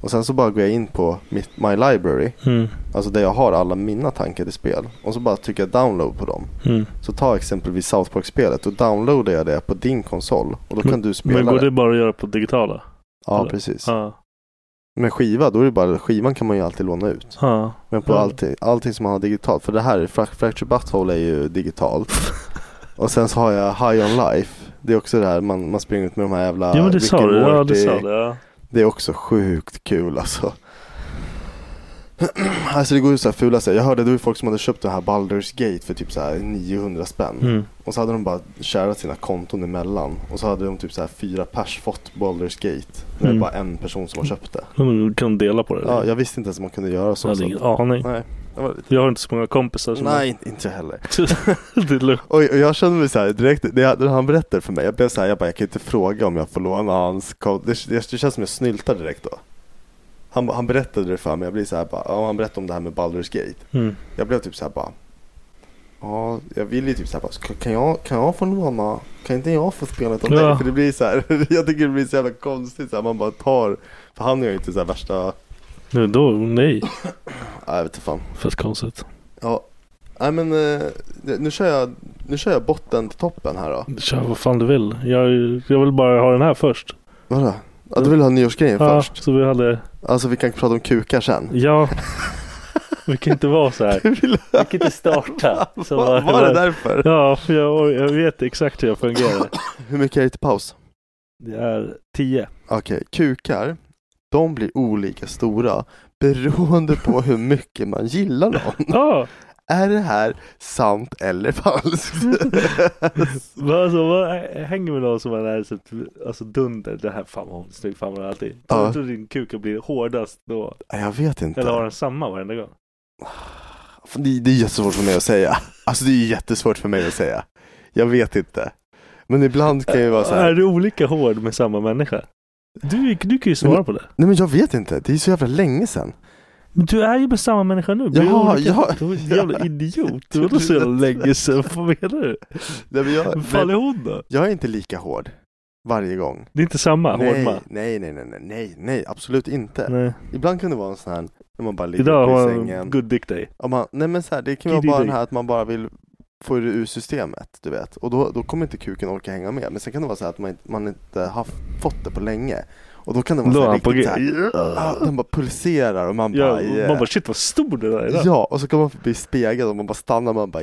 Och sen så bara går jag in på mitt, My Library.
Mm.
Alltså där jag har alla mina tankade spel. Och så bara trycker jag download på dem.
Mm.
Så ta exempelvis South Park-spelet. Då downloadar jag det på din konsol. Och då kan du spela
Men går
det.
det bara att göra på digitala?
Ja,
eller?
precis.
Ja.
Med skiva, då är det bara, skivan kan man ju alltid låna ut.
ja.
Men på
Ja.
allting, allting som man har digitalt. För det här, Fra- Fracture Butthole är ju digitalt. och sen så har jag High On Life. Det är också det här, man, man springer ut med de här jävla
ja men det
Rick
sa
and
du. Ja, det
Morty.
sa du. Ja.
Det är också sjukt kul alltså. alltså det går ju så här fula så här. Jag hörde det var ju folk som hade köpt den här Baldur's Gate för typ så här 900 spänn.
Mm.
Och så hade de bara kärat sina konton emellan. Och så hade de typ så här fyra pers fått Baldur's Gate. När det
Mm.
bara en person som har köpt det.
Men du kan dela på det.
Ja, jag visste inte ens att man kunde göra så.
jag hade
så.
ingen aning.
Nej, det var lite...
Jag har inte så många kompisar som...
Nej, inte- inte jag heller.
[LAUGHS] det är lugnt.
Och, och jag kände mig så här direkt, när, jag, när han berättade för mig, jag blev så här, jag bara jag kan inte fråga om jag får låna hans konto. Det, det, det känns som jag snyltar direkt då. Han, han berättade det för mig, jag blir så här bara, ja, han berättade om det här med Baldur's Gate.
Mm.
Jag blev typ så här bara, ja, jag vill ju typ så här bara, "Ska- kan jag, kan jag få låna, kan inte jag få spelet av dig?
Ja.
För det blir så här, [LAUGHS] jag tycker det blir så jävla konstigt så här, man bara tar, för han är ju inte så här värsta,
Nu då? Nej.
ja, jag vet inte fan.
Fast konstigt.
Ja, nej men eh, nu kör jag, nu kör jag botten till toppen här då.
Kör vad fan du vill. Jag, jag vill bara ha den här först.
Vadå? Ja, du vill ha nyårsgrejen
Ja,
först?
så vi hade...
Alltså vi kan prata om kukar sen.
Ja. Vi kan inte vara så här.
Du vill-
Vi kan inte starta. Så
Var, var det därför?
Ja, för jag, jag vet exakt hur jag fungerar.
Hur mycket är det till paus?
Det är 10.
Okej, kukar, de blir olika stora beroende på hur mycket man gillar någon.
[LAUGHS] Ja,
Är det här sant eller [LAUGHS] falskt?
men alltså, vad, jag hänger med någon som man är så, alltså dunder. Det här, fan vad hon är snygg, fan vad hon är alltid.
Ja.
Tror du inte din kuka blir hårdast då?
Nej, Jag vet inte.
Eller har den samma varenda gång?
Fan, Det, det är jättesvårt för mig att säga. Alltså det är jättesvårt för mig att säga. Jag vet inte. Men ibland kan jag vara så
Är
här.
du olika hård med samma människa? Du, du kan ju svara på det.
Nej men jag vet inte. Det är så jävla länge sedan.
Men du är ju med samma människa nu. Blir du
Jaha,
olika?
[LAUGHS] ja.
Du är en jävla idiot. Det var så jävla länge sedan. Vad menar du?
Nej, men jag,
Vad fan är hon då?
jag är inte lika hård varje gång.
Det är inte samma
Nej,
hårdman.
nej, nej, nej, nej, nej, nej, absolut inte.
Nej.
Ibland kan det vara en sån här när man bara ligger
Idag
uppe i
har
sängen.
han good dick day.
Om man, nej men så här, det kan vara
Giddy
bara
dig.
den här att man bara vill få det ur systemet, du vet. Och då, då kommer inte kuken orka hänga med. Men sen kan det vara så här att man, inte- man inte har fått det på länge. Och då kan det vara
Då är
så här,
han på
riktigt
G.
så här ah, den bara pulserar och man
Ja,
bara yeah.
Man bara shit vad stor den där är. idag.
Ja, och så kommer man förbi spegeln och man bara stannar och man bara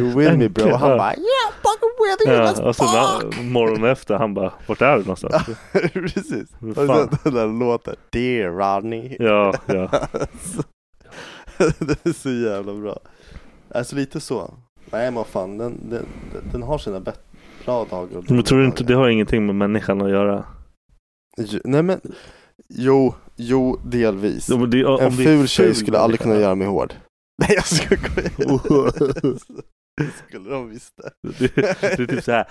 [LAUGHS]
you with me bro. Och han
Ja.
bara yeah fucking with you
Ja,
let's
och sen
fuck.
när- morgonen efter han bara, vart är du någonstans?
[LAUGHS] Precis.
Hur
Och sen
fan?
den där låten. Dear Rodney.
Ja,
[LAUGHS]
ja.
det är så jävla bra. Alltså lite så. Nej men fan, den, den, den har sina bet- bra dagar. och
Men
dåliga
tror du inte det
dagar.
har ingenting med människan att göra?
Jo, Nej men, jo, jo [LAUGHS] delvis.
Om det, om
en
det är
ful tjej skulle aldrig
människa.
kunna göra
[LAUGHS]
mig hård. Nej jag skulle [LAUGHS] Det skulle de visst det.
Det, det är typ så
[LAUGHS]
här.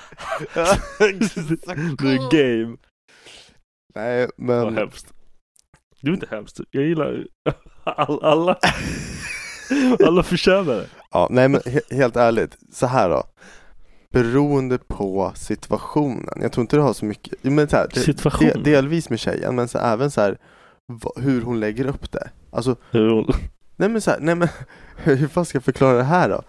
Det är game.
Nej
Vad
men.
hemskt. Du är inte hemskt. Jag gillar [LAUGHS] all,
[LAUGHS]
alla. Alla förtjänar det.
Ja, nej men he- helt ärligt, så här då. Beroende på situationen. Jag tror inte det har så mycket, men så här, det,
Situation.
de- delvis med tjejen men så även så här va- hur hon lägger upp det. Alltså,
Hur hon-
nej men så här, nej men hur fan ska jag förklara det här då?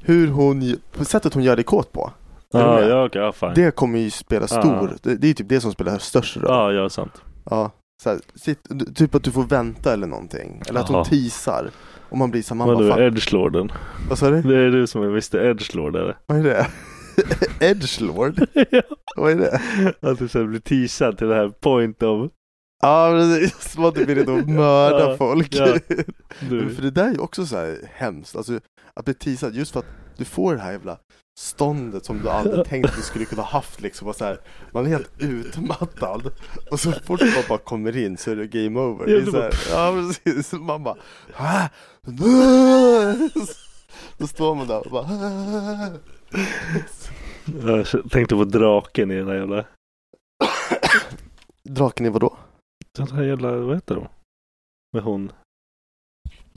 Hur hon, ju- på sättet hon gör det kåt på. Är du
Ja,
med?
ja, okej, ja, fine.
Det kommer ju spela stor,
Ja.
det, det är ju typ det som spelar störst roll.
Ja, ja, sant.
Ja, så här, sitt, du- typ att du får vänta eller någonting. Eller att hon
Jaha.
teasar. Och man blir så här, man
Vadå,
bara, fan,
Edgelorden?
vad sa du?
Det är du som är Mr Edgelord eller?
Vad är det? [LAUGHS] Edgelord? Vad är det?
Att du sen blir teasad till det här point of
Ja precis, man inte vill att mörda
Ja,
folk. [LAUGHS]
ja.
Men
du.
för det där är ju också så här hemskt, alltså att bli teasad just för att du får det här jävla ståndet som du aldrig tänkt att du skulle kunna haft liksom. Och så här, man är helt utmattad och så fort man bara kommer in så är det game over. Det
Ja,
är
du
så här, ja precis, man bara "Hä? Då står man där och bara [LAUGHS]
Jag tänkte på draken i den här jävla
Draken i vadå?
Den här jävla, vad heter de? Med hon.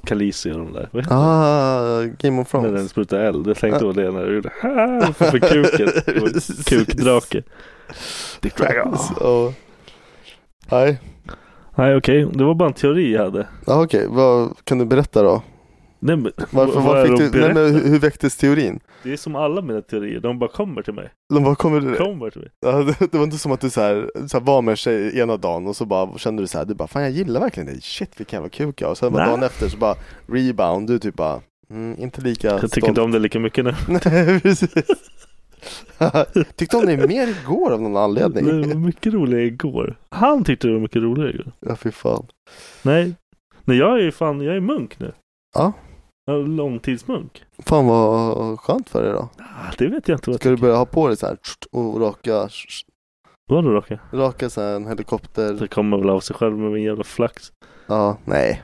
Khaleesi och de där. Vad heter de?
Ah, Game of
När den
Thrones.
sprutar eld. Jag tänkte på det när du gjorde
[LAUGHS]
"Ah", för kuken. Det var en
Precis.
Kukdrake. Dick Dragon.
Ja. Nej.
Nej okej, det var bara en teori jag hade.
Ja, Okej, vad kan du berätta då?
Nej, men,
Varför,
vad
vad
är
fick
de
du, nej, men
berättar?
hur, hur väcktes teorin?
Det är som alla mina teorier, de bara kommer till mig.
De bara, kommer du,
Kommer till mig.
Ja, det, det var inte som att du så här, så här var med en tjej ena dagen och så bara kände du så här, du bara fan jag gillar verkligen dig, shit vilken jävla kuk jag har. Och sen bara
Nej.
dagen efter så bara rebound, du typ bara mm, inte lika
Jag tycker inte om det lika mycket nu.
[LAUGHS] Nej precis. [LAUGHS] Tyckte om dig mer igår av någon
Det var
anledning.
mycket roligare igår. Han tyckte det var mycket roligare igår.
ja fy fan.
Nej. Nej jag är ju fan, jag är munk nu.
Ja.
Jag är långtidsmunk.
Fan vad skönt för dig då.
Ah, Det vet jag inte vad jag
Ska du
tycker.
börja ha på dig så här tst, och raka, tst,
Vadå Rocka?
raka så här en helikopter?
Det kommer väl av sig själv med min jävla flax.
Ja, nej.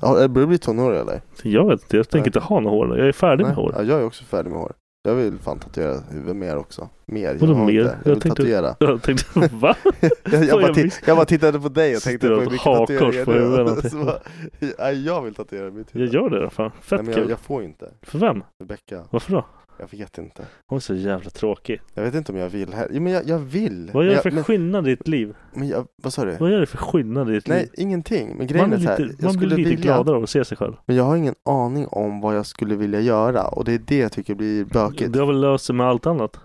Ja, Börjar du bli tonårig eller?
Jag vet inte, jag tänker inte ha något hår nu. Jag är färdig
Nej.
med hår.
Ja, jag är också färdig med hår. Jag vill fan tatuera huvudet mer också. Mer.
Vadå
har
mer?
inte. Jag
Jag
vill
tänkte-
tatuera.
[LAUGHS] Jag
[LAUGHS]
tänkte, va?
jag, jag,
Vad
bara
jag
ti-
visste.
jag bara tittade på dig och tänkte
Sitter
på
och
hur mycket
hakkors
tatueringar
på
du
huvudet.
har. [LAUGHS] Så bara, Nej, jag vill tatuera mitt
Jag
huvud.
gör det i alla fall. Fett
Nej, men jag,
kul.
jag får ju inte.
För vem?
Rebecka,
Varför då?
jag vet inte.
Hon är så jävla tråkig.
Jag vet inte om jag vill heller. Jo, men jag, jag vill.
Vad gör
men
det
jag,
för
men,
skillnad i ditt liv?
men jag, vad sa du?
Vad gör det för skillnad i ditt
Nej,
liv?
ingenting. Men grejen
Man, är
är så här,
lite,
jag
man blir
skulle
lite
vilja,
gladare av att se sig själv.
men jag har ingen aning om vad jag skulle vilja göra och det är det jag tycker blir bökigt.
Det har väl löst sig med allt annat?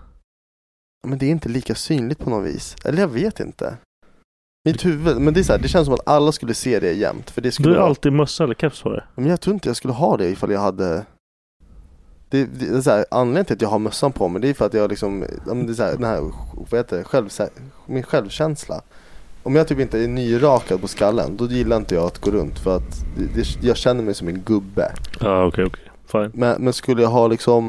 Men det är inte lika synligt på något vis. Eller jag vet inte. Mitt huvud, men det är så här, det känns som att alla skulle se det jämt. För det skulle Mm.
Du har
vara-
alltid mössa eller keps på dig.
Men jag tror inte jag skulle ha det ifall jag hade det, det, det är så här, anledningen till att jag har mössan på mig det är för att jag liksom, ja, men det är så här, den här, vad heter det, Självsä- min självkänsla. Om jag typ inte är nyrakad på skallen, då gillar inte jag att gå runt för att det, det, jag känner mig som en gubbe.
Ja, okej, okej. Fine.
Men, men skulle jag ha liksom,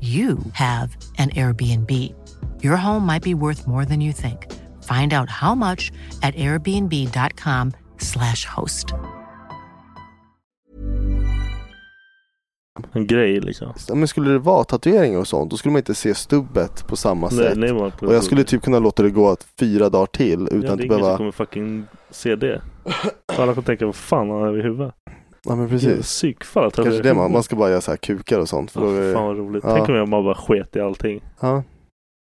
you have an Airbnb. Your home might be worth more than you think. Find out how much at airbnb.com/slash host.
En grej liksom.
men skulle det vara tatueringar och sånt, då skulle man inte se stubbet på samma
Nej,
sätt.
nej, man,
Och jag skulle typ kunna låta det gå fyra dagar till
Ja, det
utan
är
att
ingen som
behöva,
kommer fucking se det. Alla kommer tänka, vad fan har han över huvudet?
ja men precis.
Psykfall att
Kanske det man, man ska bara göra så här kukar och sånt. För då är det-
Fan vad roligt.
Ja.
Tänk om jag bara sket i allting.
ja.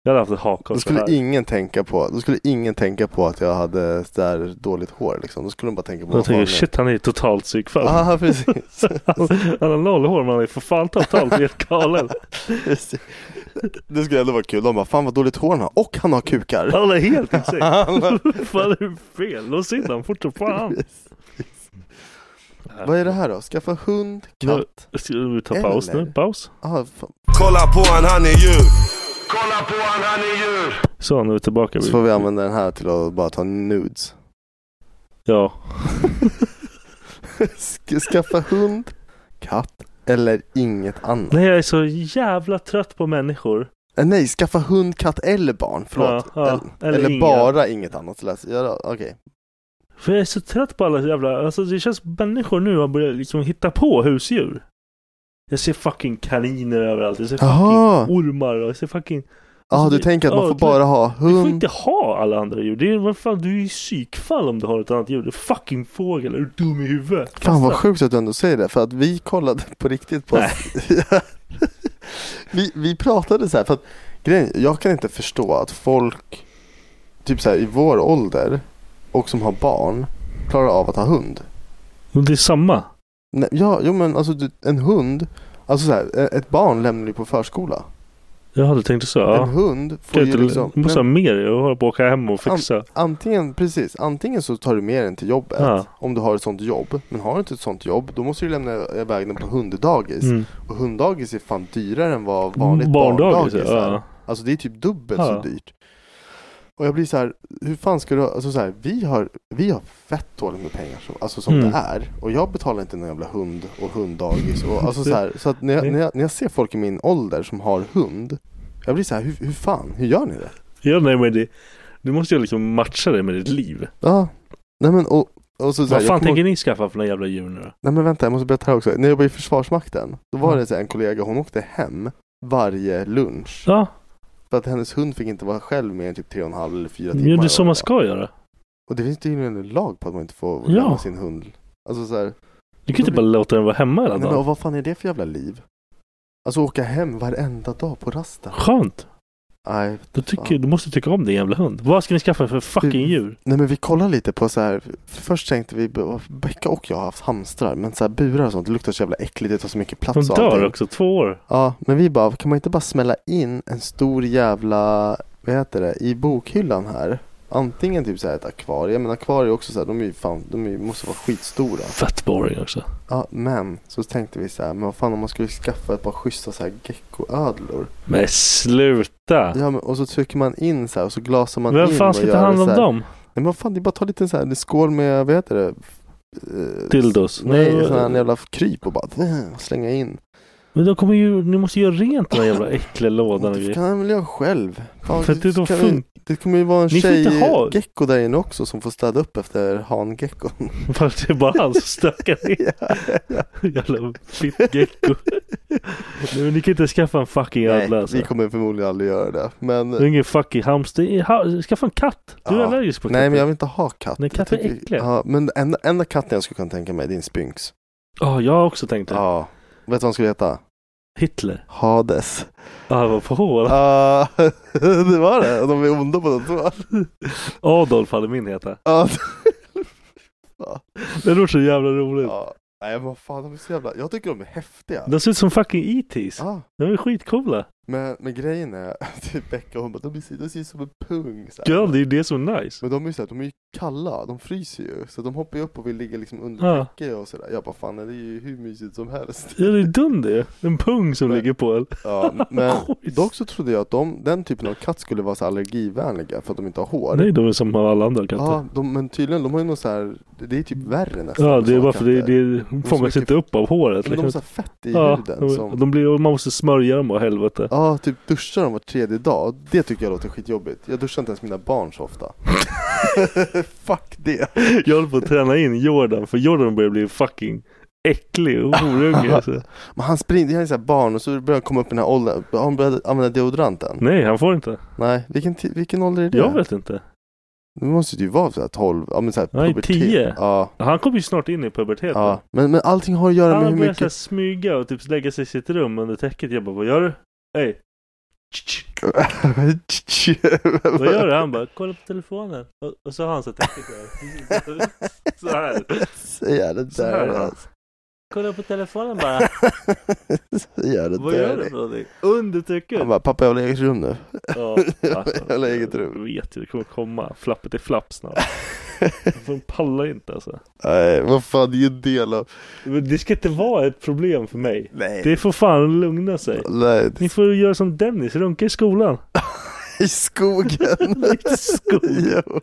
Jag hade haft ett hakkors
Då
så
skulle
här.
ingen tänka på, då skulle ingen tänka på att jag hade så där dåligt hår liksom. Då skulle de bara tänka på
Jag tänker
fan
shit han är ju totalt
nu-
psykfall.
Ja precis.
Han, [LAUGHS] han har noll hår men han är för fan totalt
[LAUGHS]
helt galen.
Precis. det skulle ändå vara kul. De bara fan vad dåligt hår han har och han har kukar.
Han är helt
[LAUGHS]
insane.
Han
fan är det fel? Lås in han fort som fan.
vad är det här då? Skaffa hund, katt?
Nu, ska vi ta paus
Eller?
nu? Paus.
Ah, fan.
Kolla på han, han är djur.
Så nu är vi tillbaka.
Så får vi använda den här till att bara ta nudes.
Ja.
Sk- Skaffa hund, katt eller inget annat.
Nej jag är så jävla trött på människor.
Eh, Nej, skaffa hund, katt eller barn. Förlåt.
Ja, ja.
Eller-
Eller
eller
inga.
bara inget annat. Läs- Ja, då, Okej.
För jag är så trött på alla jävla, alltså det känns som människor nu har börjat liksom hitta på husdjur. Jag ser fucking kaniner överallt, jag ser fucking
Jaha.
ormar och jag ser fucking...
Ja,
Alltså,
du
det-
tänker att man
ja,
får
det-
bara ha
Du får
hund?
inte ha alla andra djur, det är, vad fan, du är ju psykfall om du har ett annat djur. Du är fucking fågel, är du dum i huvudet?
Fan vad
Kasta.
sjukt att du ändå säger det, för att vi kollade på riktigt på... [LAUGHS]
Nej.
vi, vi pratade så här, för att grejen, jag kan inte förstå att folk typ så här, i vår ålder och som har barn klarar av att ha hund.
Men det är samma.
Nej, ja, jo men alltså du, en hund. Alltså så här, e- ett barn lämnar du på förskola.
Jag hade tänkt så. Ja.
En hund får
Kan
ju
inte-
liksom...
Du måste ha mer. Jag håller på att åka hem och
An-
fixa.
antingen, precis, antingen så tar du med den till jobbet
Ja.
om du har ett sånt jobb. Men har du inte ett sånt jobb då måste du lämna iväg den på hunddagis.
Mm.
Och hunddagis är fan dyrare än vad vanligt
Barndagis,
barndagis är.
ja.
Alltså det är er typ dubbelt
Mm. Ja.
så dyrt. Och jag blir så här, hur fan ska du, alltså så här, vi har, vi har fett dåligt med pengar som, alltså som
Mm.
det är. Och jag betalar inte någon jävla hund och hunddagis. Och,
Mm.
alltså så här, så att när jag, när, jag, när jag ser folk i min ålder som har hund, jag blir så här, hur, hur fan, hur gör ni det?
Ja, nej, men det, du måste ju liksom matcha det med ditt liv.
Ja, nej men och, och så, så här,
Vad
jag
fan
kommer-
tänker ni skaffa för några jävla djur nu då?
Nej men vänta, jag måste berätta här också. När jag jobbade i Försvarsmakten, då var
Ja.
det så här, en kollega, hon åkte hem varje lunch.
Ja.
För att hennes hund fick inte vara själv mer än typ tre och en halv eller fyra timmar.
Ja, det är
eller
så
vad
man
det var.
ska göra.
Och det finns tydligen en lag på att man inte får
Ja.
lämna sin hund. Alltså så här,
Du kan inte bara låta den vara hemma hela
nej, men, och
dagen.
vad fan är det för jävla liv? Alltså åka hem varenda dag på rasten.
Skönt.
Nej,
Du, tycker, du måste tycka om din jävla hund. Vad ska ni skaffa för fucking djur?
Nej men vi kollar lite på så här. För först tänkte vi, Becka och jag har haft hamstrar. Men så här burar och sånt, det luktar så jävla äckligt. Det tar så mycket plats
De
och
dör
allting.
också, två år.
Ja, men vi bara, kan man inte bara smälla in en stor jävla, vad heter det, i bokhyllan här? Antingen typ så här ett akvarie, men akvarier är också så här, de är ju fan, de är, ju- måste vara skitstora.
Fett boring också.
Ja, men så tänkte vi så här, men vad fan om man skulle skaffa ett par schyssta så här geckoödlor?
Men sluta!
Ja, men, och så trycker man in så här och så glasar man in
Vem fan
och
ska
gör
ta hand
det
om
så här.
dem?
Nej men vad fan, det är bara att ta lite så här, det är skål med, vad heter det? Eh,
Dildos?
Nej,
Nej.
sån här jävla kryp och bara [LAUGHS] eh, slänga in.
Men de kommer ju, ni måste göra rent den här jävla äckliga lådan och
Det
grejer.
kan jag väl göra själv. Fan,
För att det då
kan
fun-
vi- det kommer ju vara en
Ni får inte ha-
tjejgecko där inne också som får städa upp efter
[LAUGHS]
hangeckon.
För att det är bara han som
[LAUGHS]
stökar in. Jävla fittgecko. Nej, men Ni kan inte skaffa en fucking ödla alltså.
vi kommer förmodligen aldrig göra det. Men...
Det är ingen fucking hamster. Ha- Skaffa en katt. Du är
Ja.
allergisk på katter.
Nej men jag vill inte ha [LAUGHS] katt.
Nej,
Jag
katter är
tycker-
äckliga.
Ja, men enda, enda katten jag skulle kunna tänka mig det är en spynx.
Ja, jag har också tänkt det.
Ja. Vet du vad han skulle heta?
Hitler.
Hades.
Ja, han var på hål.
Ja, det var det. De är onda på de två.
Adolf hade min heta.
Ja.
[LAUGHS] Det låter så jävla roligt.
Ja. Nej men vad fan, de är så jävla... Jag tycker de är häftiga.
De ser ut som fucking E.T.s.
Ja.
De är skitcoola.
Men, men grejen är, [LAUGHS] typ Becka hon bara, de ser, de ser ut som en pung. Så här.
Ja, det är ju det som är nice.
Men de är ju så här, de är ju kalla, de fryser ju. Så de hoppar ju upp och vill ligga liksom under
Ja.
täcke och sådär. Jag bara fan det är ju hur mysigt som helst.
Ja, det är dum det. En pung som
Men-
ligger på en. [LAUGHS]
Ja, men
Schysst.
dock så trodde jag att de, den typen av katt skulle vara så här allergivänliga för att de inte har hår.
Nej, de är som alla andra katter.
Ja, de, men tydligen de har ju något så här, det är typ värre nästan.
Ja,
med
det är
såna
bara för det,
katter.
det fångas
mycket-
inte upp av håret.
Men de har så
liksom.
här fett i
Ja,
huden
de,
som...
de blir, och man måste smörja dem och helvete.
Ja, typ duscha dem var tredje dag. Det tycker jag låter skitjobbigt. Jag duschar inte ens mina barn så ofta. [LAUGHS] Fuck det.
Jag håller på att träna in Jordan, för Jordan börjar bli fucking äcklig och horunge. alltså.
[LAUGHS] Men han springer, han är såhär barn och så börjar han komma upp i den här åldern. Har han börjat använda deodoranten?
Nej, han får inte.
Nej, vilken, ti- vilken ålder är det?
Jag vet inte.
Det måste ju vara såhär 12, ja men såhär
Nej,
pubertet.
10.
Ja,
Han kommer ju snart in i puberteten.
ja. Men, men allting har att göra
Han
med
börjar
hur
så här
mycket...
smyga och typ lägga sig i sitt rum under täcket. Jag bara, vad gör du? Hej! Vad gör du? Han bara, kolla på telefonen. Och, och så har han så här täcket där.
[LAUGHS]
Så här.
Säga det
Så här.
där alltså.
Kolla på telefonen
[LAUGHS]
bara.
Säga det
Vad gör
där.
du för någonting? Under täcket.
Han bara, pappa jag vill ha eget rum nu.
Ja,
[LAUGHS]
alltså,
Jävla eget
Jag
rum.
vet ju, det kommer komma. Flappet är flapp
[LAUGHS]
snart. De pallar inte alltså.
Nej, vad fan det är ju en del av...
Men det ska inte vara ett problem för mig.
Nej.
Det får fan lugna sig.
Nej, det
Ni får göra som Dennis, runka i skolan.
är [LAUGHS]
[LAUGHS]
i skogen.
Lite skog.
[LAUGHS]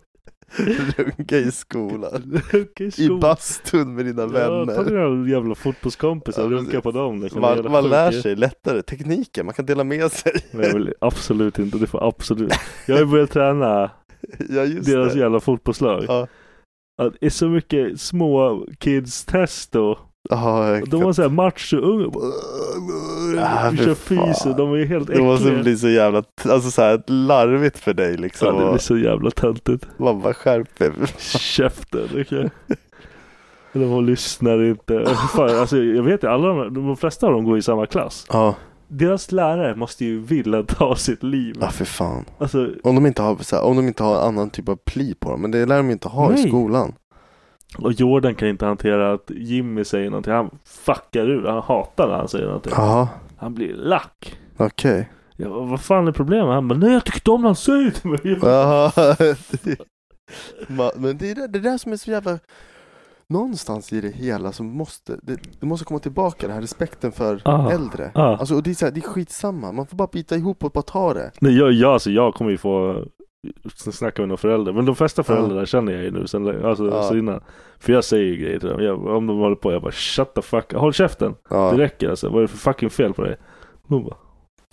Jo. Runka i skolan.
Runka i
I
skolan.
bastun med dina
Ja, ta
vänner.
dina jävla fotbollskompisar och
Ja,
runka på dem. liksom.
Man,
Jävla
man lär
sjukt.
sig lättare tekniken, man kan dela med sig.
Nej, jag vill absolut inte. Du får absolut. Jag har ju börjat träna
[LAUGHS] Ja just
deras
det.
jävla fotbollslag.
Ja.
Att Det är så mycket små kids test och
Ja, jag
de har
kan-
såhär machoungar.
Ah,
Vi
fy
kör
fan.
pysen, de är ju helt
Det måste
äckliga.
bli så jävla, t- alltså så här larvigt för dig liksom.
Ja, det blir
Och
så jävla töntigt.
Man bara skärp er.
Käften, [LAUGHS] okej. De lyssnar inte. Fan, alltså, jag vet ju, alla de, de flesta av dem går i samma klass.
Ja,
deras lärare måste ju vilja ta sitt liv.
Ja, för fan.
Alltså,
Om de inte har, så här, om de inte har annan typ av pli på dem. Men det lär de ju inte ha
Nej.
i skolan. [LAUGHS]
och Jordan kan inte hantera att Jimmy säger någonting. Han fuckar ur. Han hatar när han säger någonting.
Jaha,
Han blir lack.
okej.
Jag bara, vad fan är problemet? Han bara, nej jag tyckte om när han säger till mig.
Jaha. Ma- Men det är det, det är där som är så jävla... Någonstans i det hela så måste det, det måste komma tillbaka den här respekten för
Ah,
Äh, äldre.
ah.
Alltså, och det, är så här, det är skitsamma, man får bara bita ihop och bara ta det.
Nej, jag, jag, alltså, jag kommer ju få snacka med några föräldrar. Men de flesta föräldrar känner jag ju nu sen, länge, alltså,
Ja.
så innan. För jag säger ju grejer till dem. Jag, om de håller på, jag bara shut the fuck Håll käften.
Ja.
Det räcker alltså. Vad är det för fucking fel på dig? De bara,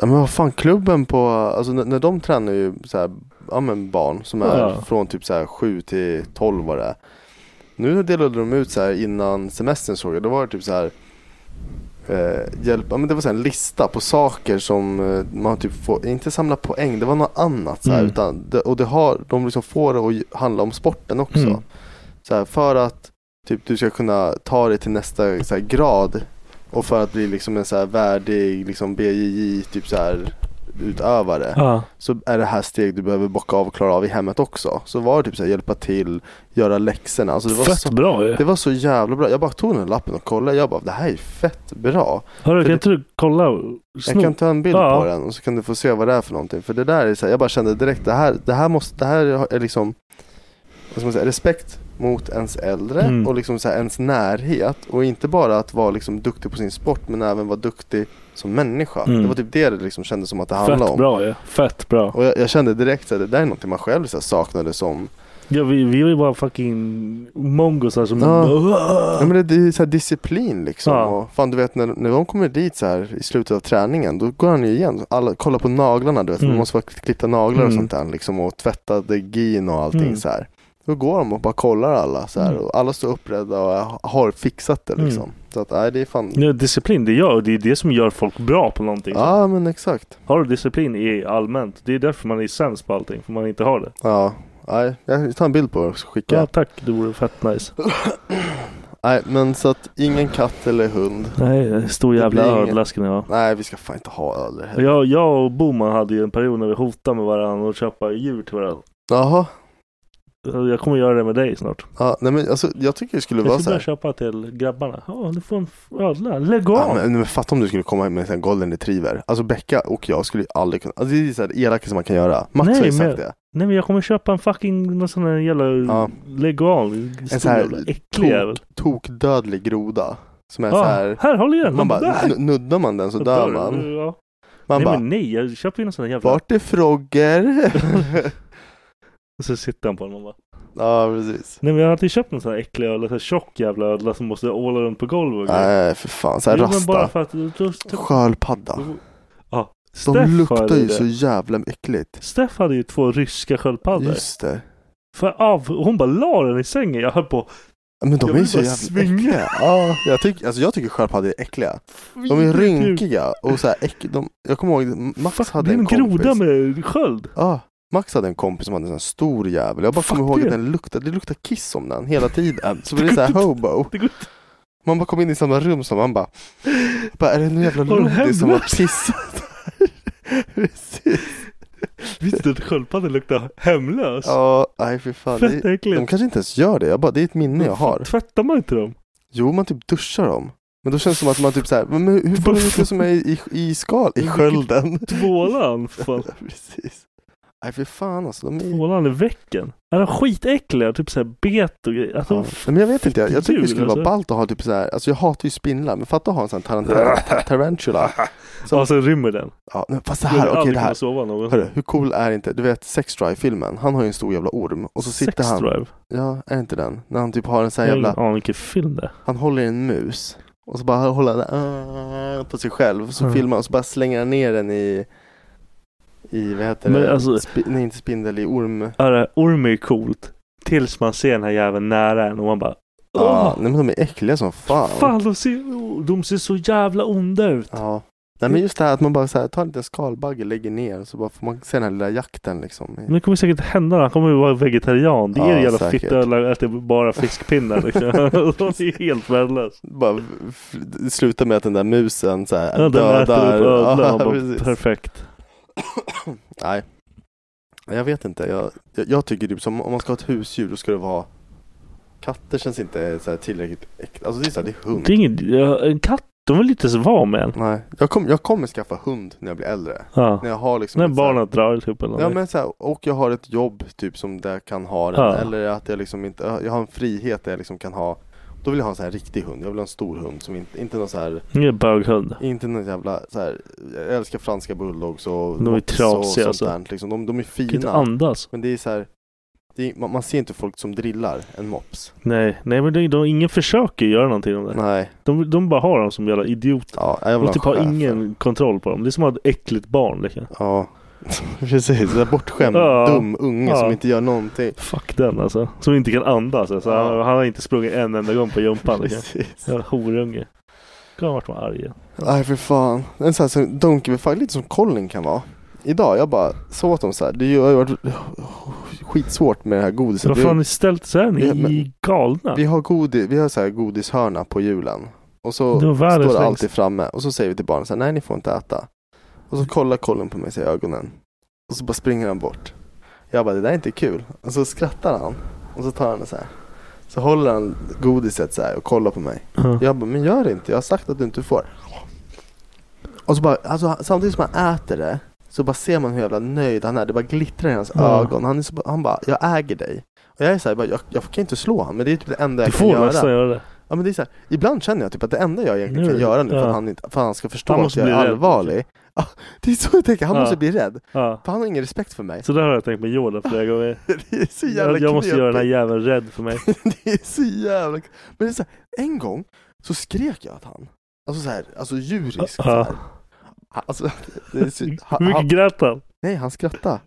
Ja, men vad fan, klubben på, alltså när, när de tränar ju så här, ja men barn som är
Ja.
från typ så här 7 till 12 var det är. Nu delade de ut så här innan semestern såg jag, då var det typ så här eh, hjälp, ja, men det var så här en lista på saker som eh, man typ får, inte samla poäng, det var något annat så här,
Mm.
utan det, och det har, de liksom får det att ju- handla om sporten också.
Mm.
Så här, för att typ du ska kunna ta dig till nästa så här, grad och för att bli liksom en så här värdig liksom BJJ typ så här utövare
ja.
[LAUGHS] så är det här steg du behöver bocka av och klara av i hemmet också. Så var det typ så här hjälpa till, göra läxorna. Alltså det var
Fett
så,
bra ju.
det var så jävla bra. Jag bara tog den här lappen och kollade. Jag bara, det här är fett bra.
Hörru,
för
kan
det-
inte du kolla?
Jag kan ta en bild
Ja.
på den och så kan du få se vad det är för någonting. För det där är så här, jag bara kände direkt, det här, det här, måste, det här är liksom vad ska man säga, respekt mot ens äldre
Mm.
och liksom så här, ens närhet. Och inte bara att vara liksom duktig på sin sport men även vara duktig som människa.
Mm.
Det var typ det det liksom kändes som att det handlade
Fett
om.
bra ju. Fett bra.
Och jag, jag kände direkt att det där är någonting man själv så här, saknade som
Ja, vi, vi är ju bara fucking mongosar som...
Ja. Ja, men det, det är så här disciplin liksom.
Ja.
Och fan du vet när, när de kommer dit så här i slutet av träningen då går han ju igen. Alla, kolla på naglarna du vet.
Mm.
Man måste vara klippta naglar och
Mm.
sånt där liksom och tvättade gin och allting
Mm.
så här. Då går de och bara kollar alla så här
Mm.
och alla står upprädda och har fixat det liksom. Så att nej det är fan.
Ja, disciplin, det gör det är det som gör folk bra på någonting.
Ja men exakt.
Har du disciplin i allmänt, det är därför man är sämst på allting, för man inte har det.
Ja. Nej, jag tar en bild på det och skickar.
Ja tack, det vore fett nice.
[CLEARS THROAT] Nej men så att ingen katt eller hund.
Nej, eh, stor
Det
jävla
blir ingen-
ödla ska ni ha.
Nej vi ska fan inte ha öl eller helvete.
Jag, jag och Boman hade ju en period när vi hotade med varandra och köpa djur till varandra.
Jaha.
Jag kommer göra det med dig snart.
Ja, nej men alltså jag tycker det skulle
Jag
vara
ska
så här.
börja köpa till grabbarna. Ja, du får en f- ödla. Lägg
Ja,
av!
men, men fatta om du skulle komma hem med en sån här golden retriever. Alltså Becka och jag skulle ju aldrig kunna. Alltså det är så här det elakaste man kan göra. Max
Nej,
har ju sagt
men-
det.
Nej men jag kommer köpa en fucking, någon sån här jävla,
Ja.
lägg av.
En så
Stor
här
jävla äcklig jävel.
Tok, tokdödlig groda. Som är så
Ja,
här.
här, håll igen!
Man bara,
Där!
n- nuddar man den så
Där,
dör man.
ja.
Man
nej
bara,
men nej, jag köper ju någon sån här jävla...
vart är Frogger?
[LAUGHS] Och så sitter han på den och bara...
ja, precis.
Nej men jag har alltid köpt en sån här äcklig ödla, sån här tjock jävla ödla som måste åla runt på golvet och grejer.
Nej, för fan. Så här
Jo, men bara
rasta.
för att... Då,
Sköldpadda.
ja.
De
Steff
luktar
hade
ju
det.
så jävla äckligt.
Steff hade ju två ryska sköldpaddor.
Just det.
För av, hon bara la den i sängen. Jag höll på.
Men de
Jag
är
vill
så
bara
jävla
svinga.
äckliga. Ja, jag, tycker, alltså jag tycker sköldpaddor är äckliga. De är rynkiga och så här äck, de, Jag kommer ihåg Max
Fuck,
hade
det är
en
en
kompis
groda med sköld.
Ja, Max hade en kompis som hade en sån här stor jävel Jag bara
Fuck
kommer ihåg
det.
att den luktade, det luktade kiss om den
[LAUGHS]
hela tiden Så blev det så här hobo
Det går inte.
Man bara kom in i samma rum som man bara, bara Är det någon jävla
Har du
lodis som har
hemlös?
pissat här?" [LAUGHS] Precis.
Visste du att sköldpadda luktar hemlös?
Ja, nej fy fan
Fett
det,
äckligt.
De kanske inte ens gör det, jag bara, det är ett minne jag har
Tvättar man inte dem?
Jo man typ duschar dem men då känns det som att man typ såhär, men hur får du lukta som är i, i, i skal,
[LAUGHS]
i skölden?
Tvålan? Fan.
Precis. Nej för fan alltså, de är...
Tvålan i väcken. Han är skitäckliga. Typ såhär bet och grejer. Alltså,
Ja. Men jag vet inte, jag, jag tycker det
djur,
skulle vara
alltså.
ballt att ha typ så här. alltså jag hatar ju spindlar, men fatta att ha en sån här tarantula. tarantula.
som... Ja, sen rymmer den.
Ja, men fast det
Jag
här,
hade
okej
aldrig
det här.
kunnat sova någon.
Hörru, hur cool är inte, du vet Sex Drive-filmen, han har ju en stor jävla orm och så sitter
Sex
han,
drive.
ja är inte den, när han typ har en sån
Jag
här
har ingen
jävla,
aning vilken film det är.
han håller i en mus och så bara håller han ah, på sig själv och så
Mm.
filmar och så bara slänger han ner den i, i vad heter
Men
det,
alltså-
Spi- nej inte spindel, i orm.
Hörru, orm är ju coolt. Tills man ser den här jäveln nära en och man bara...
Ja,
"Åh,
nej men de är äckliga som fan.
Fan, de ser, de ser så jävla onda ut.
Ja, Nej men just det här att man bara så här, tar en liten skalbagge, lägger ner och så bara får man se den här lilla jakten liksom.
Men det kommer säkert hända. Han kommer ju vara vegetarian. Det är
Ja,
ju jävla
säkert.
fitta eller äter bara fiskpinnar
[LAUGHS]
liksom. [LAUGHS] det är helt värdelöst.
Bara f- sluta med att den där musen så här,
Ja, den äter upp ödlan.
Ja,
och bara,
precis.
Perfekt.
[CLEARS THROAT] Nej. Jag vet inte. Jag, jag, jag tycker typ som om man ska ha ett husdjur då ska det vara Katter känns inte så här tillräckligt äkta. Alltså det är så här, det är hund.
Det är ingen, ja, en katt, de är lite så van med en.
Nej. Jag, kom, jag kommer skaffa hund när jag blir äldre.
Ja.
När jag har liksom
När
ett så här-
barnet drar typ eller
Ja
något.
men så här, och jag har ett jobb typ som där jag kan ha den
Ja.
eller att jag liksom inte, jag har en frihet där jag liksom kan ha Då vill jag ha en så här riktig hund, jag vill ha en stor hund som inte, inte någon så här
Ingen böghund.
Inte någon jävla så här, jag älskar franska bulldogs och
De är
mops och
trasiga,
sånt
alltså.
där liksom. de, de är
Kan inte
fina
andas.
Men det är så här det är, man, man ser inte folk som drillar en mops
Nej, nej men det, de, ingen försöker göra någonting om det.
Nej
De, de bara har dem som jävla idioter.
Ja, jag vill
de
ha
typ
en
har
chef.
ingen kontroll på dem. Det är som att ha ett äckligt barn liksom.
Ja [LAUGHS] Precis, en bortskämd
Ja.
dum unge
Ja.
som inte gör någonting
Fuck den alltså. Som inte kan andas. Alltså.
Ja.
Han, han har inte sprungit en enda gång på jumpan. Liksom.
Precis.
Jävla horunge. Gud vart man arg igen.
Nej för fan. En sån här som don't give a fuck, lite som Colin kan vara. Idag, jag bara sa åt dem så här. Det har ju varit skitsvårt med det här godiset.
Vad
Vi-
fan är ställt så här? Ni
Ja,
är
men-
galna.
Vi har, godis, vi har så här godishörna på julen. Och så
Det var
står
världens
det
längst.
alltid framme. Och så säger vi till barnen så här, nej ni får inte äta. Och så kollar Colin på mig så i ögonen. Och så bara springer han bort. Jag bara, det där är inte kul. Och så skrattar han. Och så tar han det så här. Så håller han godiset så här och kollar på mig.
Ja.
Jag bara, men gör det inte. Jag har sagt att du inte får. Och så bara, alltså, samtidigt som han äter det. Så bara ser man hur jävla nöjd han är. Det bara glittrar i hans
Ja.
ögon. Han, är så, han bara, jag äger dig. Och jag är såhär, jag, jag kan inte slå honom. Men det är typ det enda
Du
jag kan
får
göra.
nästan göra det.
Ja men det är så här, ibland känner jag typ att det enda jag egentligen
Nu-
kan göra nu för,
ja.
att han inte, för att han ska förstå
Han
att
måste
jag är
bli rädd. typ.
allvarlig. Ja, det är så jag tänker, han
Ja.
måste bli rädd.
Ja.
För han har ingen respekt för mig.
Så där har jag tänkt med Jordan flera gånger.
[LAUGHS] Det är så jävla
Jag, jag måste göra den här
knepigt.
jäveln rädd för mig.
Det är så jävla Men det är så här, en gång så skrek jag att han, alltså så här, alltså djuriskt så
Ja.
här. Alltså, det är så,
Hur
han,
mycket
han,
grät han?
nej han skrattade.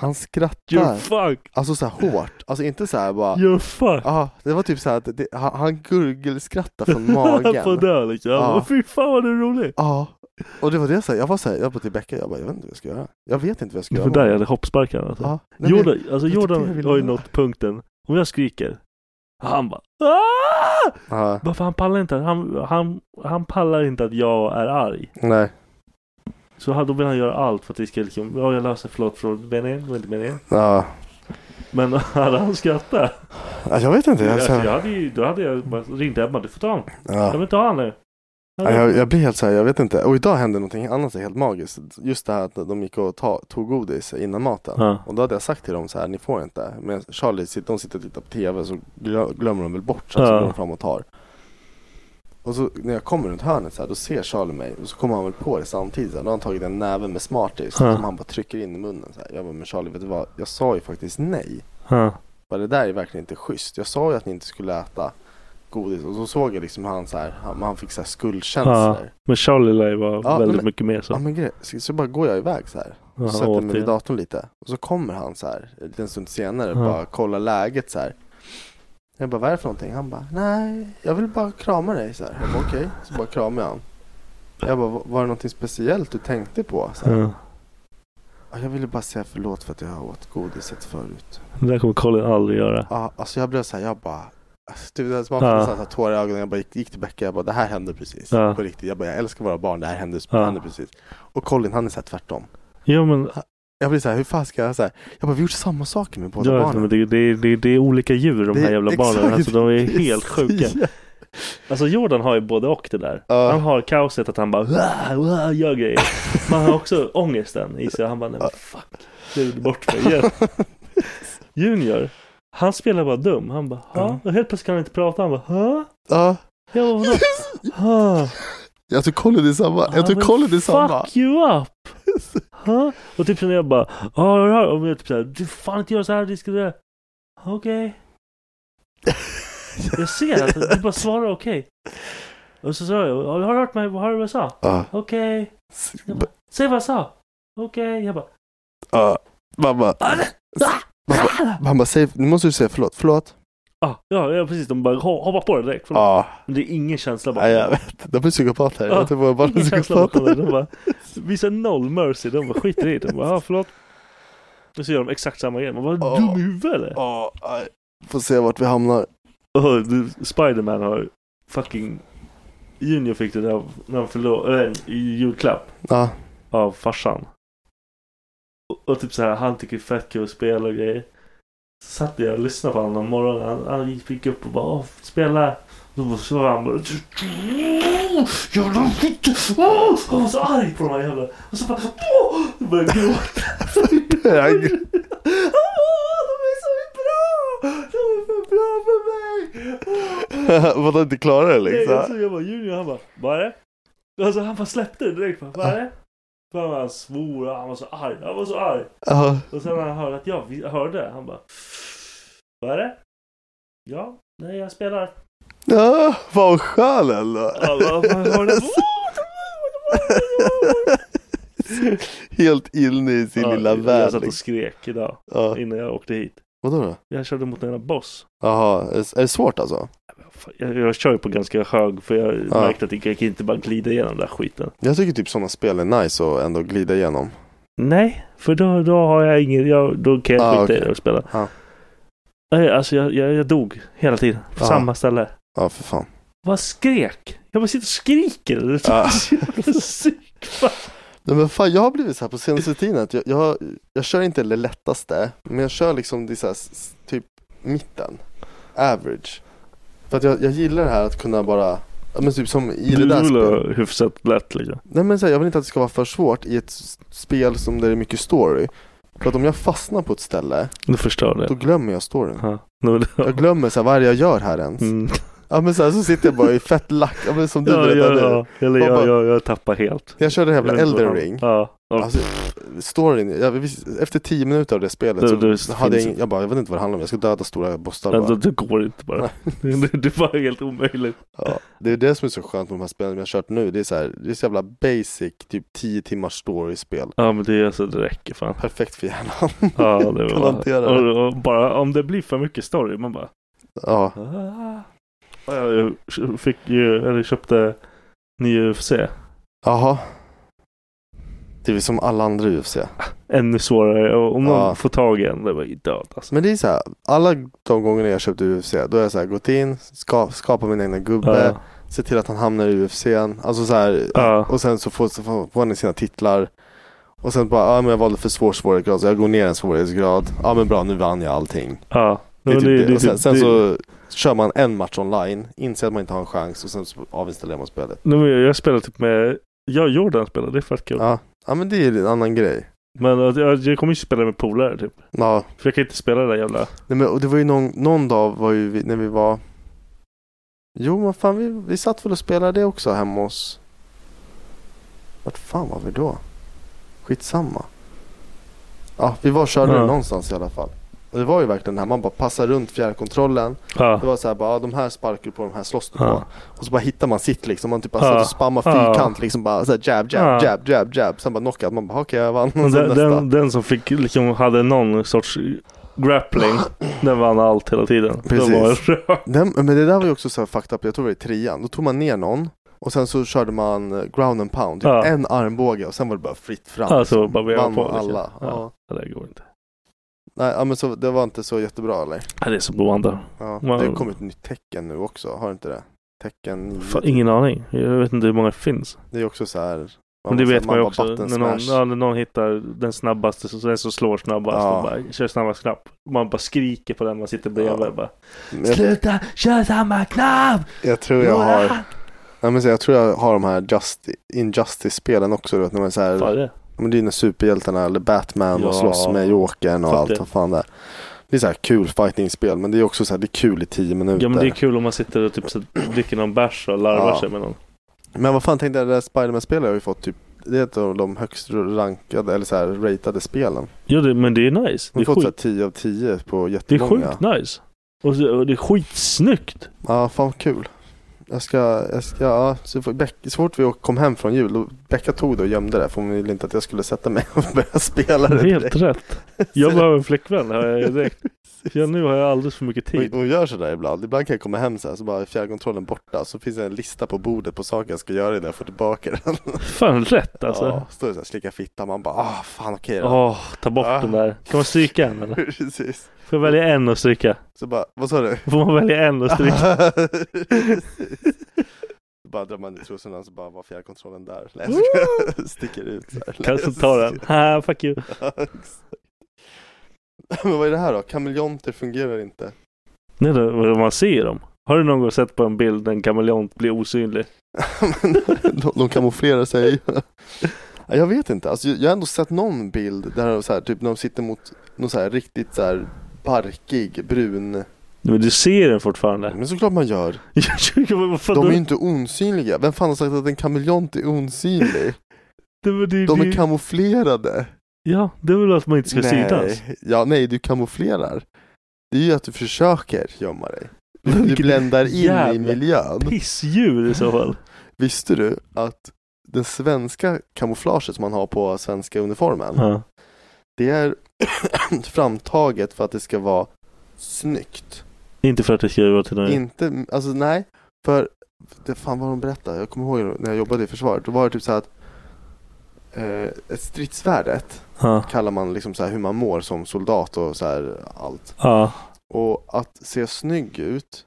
Han
You're
skrattade.
fuck!
Alltså så här hårt, alltså inte så här bara
You're fuck!
Ja, det var typ så här att det, han, han liksom
[LAUGHS]
gurgelskrattade från magen.
på dö liksom.
Ja.
Ja. Fy fan vad du är rolig!
Ja, och det var det jag sa. Jag var så här, jag bara till Becka, jag bara, jag vet inte vad jag ska göra. Jag vet inte vad jag ska
Det
göra.
var där jag hade hoppsparkar alltså.
Ja, nej, men-
Jordan, alltså
det är typ
Jordan
det jag vill
har ju
göra.
nått punkten. Om jag skriker. Han bara "Ah!"
Ja,
Bara för han pallar inte. att- Han, han, han pallar inte att jag är arg.
nej,
Så han- då vill han göra allt för att vi ska liksom. Ja jag löser förlåt förlåt. Meningen, det var inte meningen.
ja.
Men [LAUGHS] hade han skrattat.
Ja, jag vet inte. Jag,
Alltså, jag
jag,
hade ju, då hade jag bara ringt Ebba. Du får ta honom. Jag
ja.
vill inte ha honom nu.
Ja, jag, jag blir helt så här, jag vet inte. Och idag hände någonting annat så helt magiskt. Just det här att de gick och ta, tog godis innan maten.
Ja.
Och då hade jag sagt till dem så här, ni får inte. Men Charlie, sit- de sitter och tittar på TV så glö- glömmer de väl bort. Så,
Ja.
så går de fram och tar. Och så när jag kommer runt hörnet så här, då ser Charlie mig. Och så kommer han väl på det samtidigt. Så här. Då har han tagit en näve med Smarties.
Ja.
Som han bara trycker in i munnen. Så här. Jag bara, men Charlie, vet du vad? Jag sa ju faktiskt nej.
Ja.
Bara, det där är verkligen inte schysst. Jag sa ju att ni inte skulle äta godis. Och så såg jag liksom han så här, han, han fick så här skuldkänslor.
Ja. Men Charlie lär ju vara
Ja,
väldigt
men-
mycket mer så.
Ja men grej, så, så bara går jag iväg så här.
Ja,
Så sätter jag mig
återigen.
vid datorn lite. Och så kommer han så här en liten stund senare
Ja.
bara kolla läget så här. Jag bara vad är det för någonting? Han bara nej, jag vill bara krama dig så här. Jag bara okej, så bara kramar jag han. Jag bara "Va- var det någonting speciellt du tänkte på? Så här.
Ja.
"Ja, Jag ville bara säga förlåt för att jag åt godiset förut.
Det där kommer Colin aldrig göra.
Ja, alltså jag blev så här, jag bara alltså, du vet, man får
Ja.
nästan så här tårar i ögonen. Jag bara gick, gick till Becka, jag bara det här hände precis.
Ja.
På riktigt. Jag bara jag älskar våra barn, det här hände,
Ja.
hände precis. Och Colin han är så här tvärtom.
Ja men,
Jag blir så här, hur fan ska jag så här? Jag bara, vi har gjort samma saker med båda
ja,
barnen.
men det, det, det, det är olika djur de här
Det-
jävla barnen.
exakt.
Alltså, de
Det
är helt
så
sjuka.
[LAUGHS] jä-
Alltså Jordan har ju både och det där.
Ja.
Han har kaoset att han bara "Wah, wah", gör
[LAUGHS]
grejer. Men han har också ångesten i sig. Han bara nej men fuck. Nu är det bort mig
[LAUGHS]
igen. Junior. Han spelar bara dum. Han bara ha? Och helt plötsligt kan han inte prata. Han bara ha?
Ja,
Jag bara vadå? Ha?
jag tror Colin är samma. Jag
Han
tror
bara,
Colin är samma.
Fuck you up! Ha? Och typ när jag bara ja jag hör. Och jag typ såhär du får fan inte göra såhär. Det ska du göra." Okej.
[LAUGHS]
Jag ser att du bara svarar okej. Och så sa jag, "Ja, har du hört mig? Har du vad jag sa?
Ja.
Okej.
S-
Jag bara, Säg vad jag sa. Okej. Jag bara,
ja. Mamma,
"Ah, nej."
mamma, säg, nu måste du säga förlåt. Förlåt.
Ah, ja, ja, precis. De bara ho- hoppar på det direkt.
Ja.
Men det är ingen känsla Ah.
Nej, jag vet. De är psykopater. Jag vet inte vad bara
ingen känsla bakom det.
psykopater.
De bara visar noll mercy. De bara skiter i det. De bara, ah, förlåt. Och så gör de exakt samma grej. Man bara,
Ja.
dum i huvudet eller?
Ja, nej. Får se vart vi hamnar.
Oh, du, Spiderman har fucking Junior fick det där när han förlorade, äh, i julklapp
Ja.
av farsan. Och, och typ så här, han tycker det är fett kul att spela och grejer. Så satt jag och lyssnade på honom någon morgon. Han, han gick upp och bara Åh, spela. Och då så var han bara Jävla fitta! Åh! Han var så arg på de här jävla... Och så bara Åh! Jag började
[LAUGHS]
gråta. Åh, de är så bra! De är för bra för mig! Åh!
[LAUGHS] Vad de inte klarar det
Nej,
liksom.
alltså, jag bara Junior, han bara Vad är det? Alltså han bara släppte det direkt. Bara, Vad är det? Fan, han svor och han var så arg. Han var så arg.
Ja.
Och sen när han hörde att jag vi- hörde, han bara Vad är det? Ja, nej jag spelar.
Ja, fan vad skön ändå.
Han bara, "Vad har du?"
Helt inne i sin
Ja,
lilla
Jag
värld.
satt och
liksom.
skrek idag
Ja.
innan jag åkte hit.
Vadå då?
Jag körde mot en jävla boss.
Jaha, är är det svårt alltså?
Fan, Jag, jag kör ju på ganska hög för jag
Ja.
märkte att jag kan inte bara glida igenom den där skiten.
Jag tycker typ sådana spel är nice att ändå glida igenom.
Nej, för då, då har jag ingen, jag, då kan jag
Ah,
skita i
okej.
det och spela.
Ja.
Nej, alltså jag, jag, jag dog hela tiden på
Ja.
samma ställe.
Ja, för fan.
Vad skrek? Jag bara sitter och skriker. Det är så
Ja.
jävla sykt. Fan.
Nej, men fan, jag har blivit så här på senaste tiden att jag, jag, jag kör inte det lättaste, men jag kör liksom det så här, s- s- typ mitten, average. För att jag, jag gillar det här att kunna bara, ja, men typ som i det
Du
där spelet.
rullar hyfsat lätt liksom.
Nej men så här, jag vill inte att det ska vara för svårt i ett s- spel som där det är mycket story. För att om jag fastnar på ett ställe,
Du förstör
då
det.
glömmer jag storyn.
Ja. Nu-
Jag glömmer så här, vad är det jag gör här ens?
Mm.
Ja men så här, så sitter jag bara i fett lack, ja, men som du
Ja, ja,
berättade nu.
ja. Eller
Man
jag,
bara-
jag, jag tappar helt.
Jag körde det jävla
Jag-
Elden ring.
Ja. Och-
Alltså, storyn, jag, visste- efter tio minuter av det spelet
Det-
så
det
hade jag,
finns-
ingen, jag bara, jag vet inte vad det handlar om, jag ska döda stora bossar
Alltså,
bara.
det går inte bara. [LAUGHS] Det, det är bara helt omöjligt.
Ja, det är det som är så skönt med de här spelen vi har kört nu, det är så här, det är så jävla basic, typ 10 timmars story-spel.
Ja men det är alltså, det räcker fan.
Perfekt för hjärnan.
Ja, det var
[LAUGHS] Kan hantera det.
och, och bara om det blir för mycket story, man bara
Ja,
ah. Ja, Jag fick ju, eller köpte ny UFC.
jaha. Det är väl som alla andra UFC.
Ännu svårare. Och om
Ja.
någon får tag i en, det var ju död alltså.
Men det är så här, alla de gångerna jag köpte UFC, då har jag så här, gått in, ska, skapat min egna gubbe,
Ja.
se till att han hamnar i UFCn. Alltså så här,
Ja.
och sen så får, så får får han sina titlar. Och sen bara, ja men jag valde för svår svårighetsgrad så jag går ner en svårighetsgrad. Ja men bra, nu vann jag allting.
Ja.
Det är
Men
typ det. Och sen, sen
det-
så kör man en match online, inser att man inte har en chans och sen så avinstallerar man spelet.
Nej, men jag spelar typ med, jag och Jordan spelar, det är fett kul.
Ja, ja men det är en annan grej.
Men att jag, jag kommer ju spela med polare typ.
Ja,
För jag kan inte spela det där jävla...
nej, men och det var ju någon, någon dag var ju vi, när vi var Jo men fan vi, vi satt väl och spelade det också hemma hos Vart fan var vi då? Skitsamma Ja vi var och körde
Ja.
det någonstans i alla fall Och det var ju verkligen det här man bara passar runt fjärrkontrollen
Ja.
Det var så här bara ah, de här sparkar du på, de här slåss du
Ja.
på Och så bara hittar man sitt liksom Man typ bara
Ja.
satt och spammar
Ja.
fyrkant liksom bara så här, jab, jab,
Ja.
jab, jab, jab Sen bara knockout Man bara okej jag vann
Men
Och sen
Den,
nästa
den, den som fick, liksom, hade någon sorts grappling, den vann allt hela tiden.
Precis.
Den var
Den, men det där var ju också så här fucked up, jag tror det var i trean. Då tog man ner någon och sen så körde man eh, ground and pound, typ
Ja.
en armbåge och sen var det bara fritt fram.
Ja, så bara vi
Vann
på,
man
liksom.
alla. Ja.
Ja. Det där går inte.
Nej, ja, men så, det var inte så jättebra eller?
Nej, det är som Rwanda.
Ja.
Man-
Det har kommit ett nytt tecken nu också, har det inte det? Tecken 9.
Fan, ingen aning. Jag vet inte hur många det finns.
Det är också så här.
Men
man
det
måste-
vet man ju
bara
också.
button
När någon,
smash.
ja, när någon hittar den snabbaste, så den som slår snabbast,
Ja.
och bara, kör snabbast knapp. Man bara skriker på den man sitter bredvid.
Ja.
Bara,
Men jag,
Sluta kör samma knapp!
jag tror jag har, nej, men så jag tror jag har de här just, Injustice-spelen också du vet, när man är så här,
Fan, det.
Ja, Men det är ju när superhjältarna eller Batman
Ja.
och slåss med Jokern och
Fattar.
allt vad fan det är. Det är så här kul fighting-spel men det är också så här, det är kul i tio minuter.
Ja men det är kul om man sitter och typ så dricker någon bärs och larvar
Ja.
sig med någon.
Men vad fan tänkte jag, det där Spiderman-spelet har ju fått typ, det är ett av de högst rankade eller så här ratade spelen.
Ja det, men det är nice.
De
Det
har
är,
fått så här
sjuk,
10 av 10 på
det är
jättemånga.
sjukt nice. Och, så, och det är skitsnyggt.
Ja, fan vad kul. Jag ska, jag ska, ja, så, får- Beck, så fort vi kom hem från jul då Becka tog det och gömde det för hon ville inte att jag skulle sätta mig och börja spela det
Helt
direkt.
rätt. Jag behöver en flickvän har jag ju direkt. Ja, nu har jag alldeles för mycket tid.
Hon, hon gör sådär ibland. Ibland kan jag komma hem så här så bara är fjärrkontrollen borta. Så finns det en lista på bordet på saker jag ska göra innan jag får tillbaka den.
[LAUGHS] Fan rätt alltså.
Ja, står det så här slicka fitta. Man bara ah fan okej då.
Åh, ta bort
Ah.
den där. Kan man stryka en eller?
[LAUGHS] Precis.
Får jag välja en och stryka?
Så bara, vad sa du?
Får man välja en och
[LAUGHS]
stryka?
Så bara drar man i trosorna så bara var fjärrkontrollen där. Nej, jag skojar. [LAUGHS] Sticker ut så här.
Kanske ta den. Haha, fuck
[LAUGHS]
you.
Men vad är det här då? Kameleonter fungerar inte.
Nej, då, vad man ser dem. Har du någon gång sett på en bild där en kameleont blir osynlig?
de, de kamouflerar sig. Ja, jag vet inte. Alltså, jag jag har ändå sett någon bild där de, så här, typ, när de sitter mot någon så här, riktigt så här, barkig brun.
Men du ser den fortfarande. [LAUGHS]
Men såklart man gör.
Vad fan,
Mm. De är
då-
ju inte osynliga. Vem fan har sagt att en kameleont är osynlig?
det var det-
De
det-
är kamouflerade.
Ja, det är väl att man inte ska synas.
nej. Ja, nej, du kamouflerar. Det är ju att du försöker gömma dig. Du
Vilket
bländar in i
jävla
miljön.
Pissdjur i så fall.
Visste du att det svenska kamouflaget som man har på svenska uniformen
Ja.
Det är [COUGHS] framtaget för att det ska vara snyggt.
Inte för att det ska vara till någon.
Inte, alltså nej. För, det, fan vad de berättade. Jag kommer ihåg när jag jobbade i försvaret. Då var det typ så här att eh, ett stridsvärdet
Ja.
kallar man liksom så här hur man mår som soldat och så här allt.
Ja.
Och att se snygg ut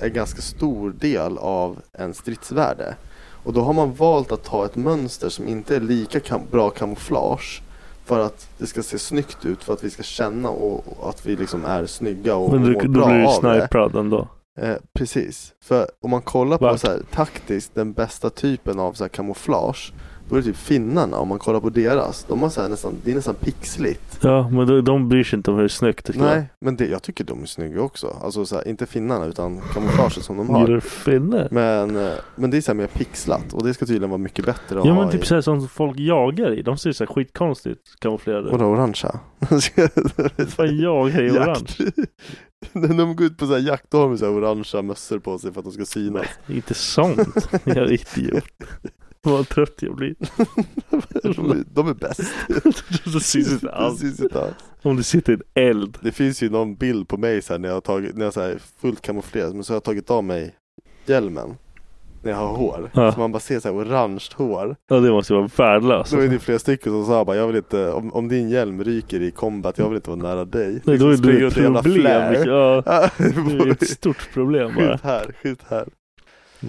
är en ganska stor del av en stridsvärde. Och då har man valt att ta ett mönster som inte är lika kam- bra kamouflage för att det ska se snyggt ut, för att vi ska känna och, och att vi liksom är snygga och
Men du,
mår
då
bra
blir du
av det.
sniprad ändå.
Eh, precis, för om man kollar på
Vart?
så här, taktiskt den bästa typen av så här, kamouflage då är det typ finnarna, om man kollar på deras. De har så här nästan, det är nästan pixligt.
Ja, men de, de bryr sig inte om hur snyggt det ska vara.
Nej, men det, jag tycker de är snygga också. Alltså så här, inte finnarna utan kamouflaget som de
Gillar
har.
du finne?
Men, eh, men det är så här mer pixlat och det ska tydligen vara mycket bättre [LAUGHS] att
Ja
ha
men
i...
typ såhär som folk jagar i. De ser så här skitkonstigt kamouflerade ut. [LAUGHS]
Vadå orangea?
Fan jagar i
Jakt.
orange.
När de går ut på så här jakt då har de så här orangea mössor på sig för att de ska synas.
Inte
[LAUGHS]
sånt. Jag är idiot. Vad trött jag blir.
de, är, [LAUGHS] de
[LAUGHS]
är bäst.
Det syns inte alls.
Det syns inte alls.
Om det sitter en eld.
Det finns ju någon bild på mig så här, när jag har tagit, när jag så här, fullt kamouflerad, men så har jag tagit av mig hjälmen. När jag har hår.
Ja.
Så man bara ser så här orange hår.
Ja det måste ju vara värdelöst.
Då är det flera stycken som sa bara, jag vill inte, om, om din hjälm ryker i combat, jag vill inte vara nära dig.
Nej, då är
Springer
det ett
runt en jävla
problem. liksom.
flare.
Ja,
[LAUGHS] Ja,
det är ett stort problem bara.
Skjut här, skjut här.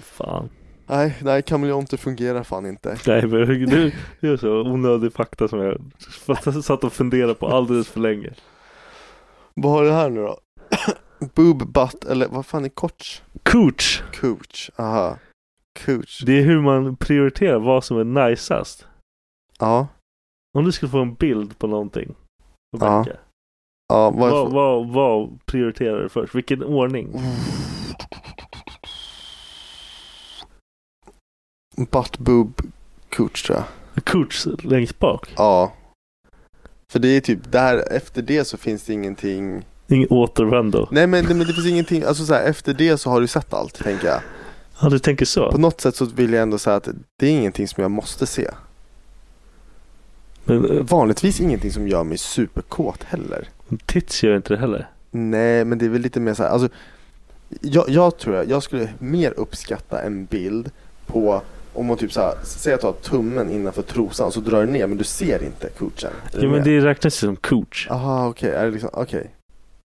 Fan.
Nej, nej, kameleonter fungerar fan inte.
Nej men du, det är så onödig fakta som jag [LAUGHS] satt och funderade på alldeles för länge.
Vad har du här nu då? Boob butt, eller vad fan är coach?
Cooch.
Coach, aha. Coach,
Det är hur man prioriterar vad som är najsast.
ja.
Om du skulle få en bild på någonting. Och
Ja.
backa,
Ja,
vad,
varför?
vad, vad prioriterar du först? Vilken ordning?
Mm. Butt boob coach tror jag.
Cooch längst bak?
Ja. För det är typ där, efter det så finns det ingenting.
Ingen återvändo?
Nej men, nej, men det finns ingenting, alltså så här, efter det så har du sett allt tänker jag.
Ja du tänker
På
så?
något sätt så vill jag ändå säga att det är ingenting som jag måste se.
Men eh,
Vanligtvis ingenting som gör mig superkåt heller.
tits gör inte det heller.
Nej men det är väl lite mer så här, alltså. Jag, jag tror jag, jag skulle mer uppskatta en bild på om man typ så här, säg att du har tummen innanför trosan så drar du ner men du ser inte coachen. Är du
Ja men
med?
det räknas ju som cooch.
Aha okej, är det liksom, okej.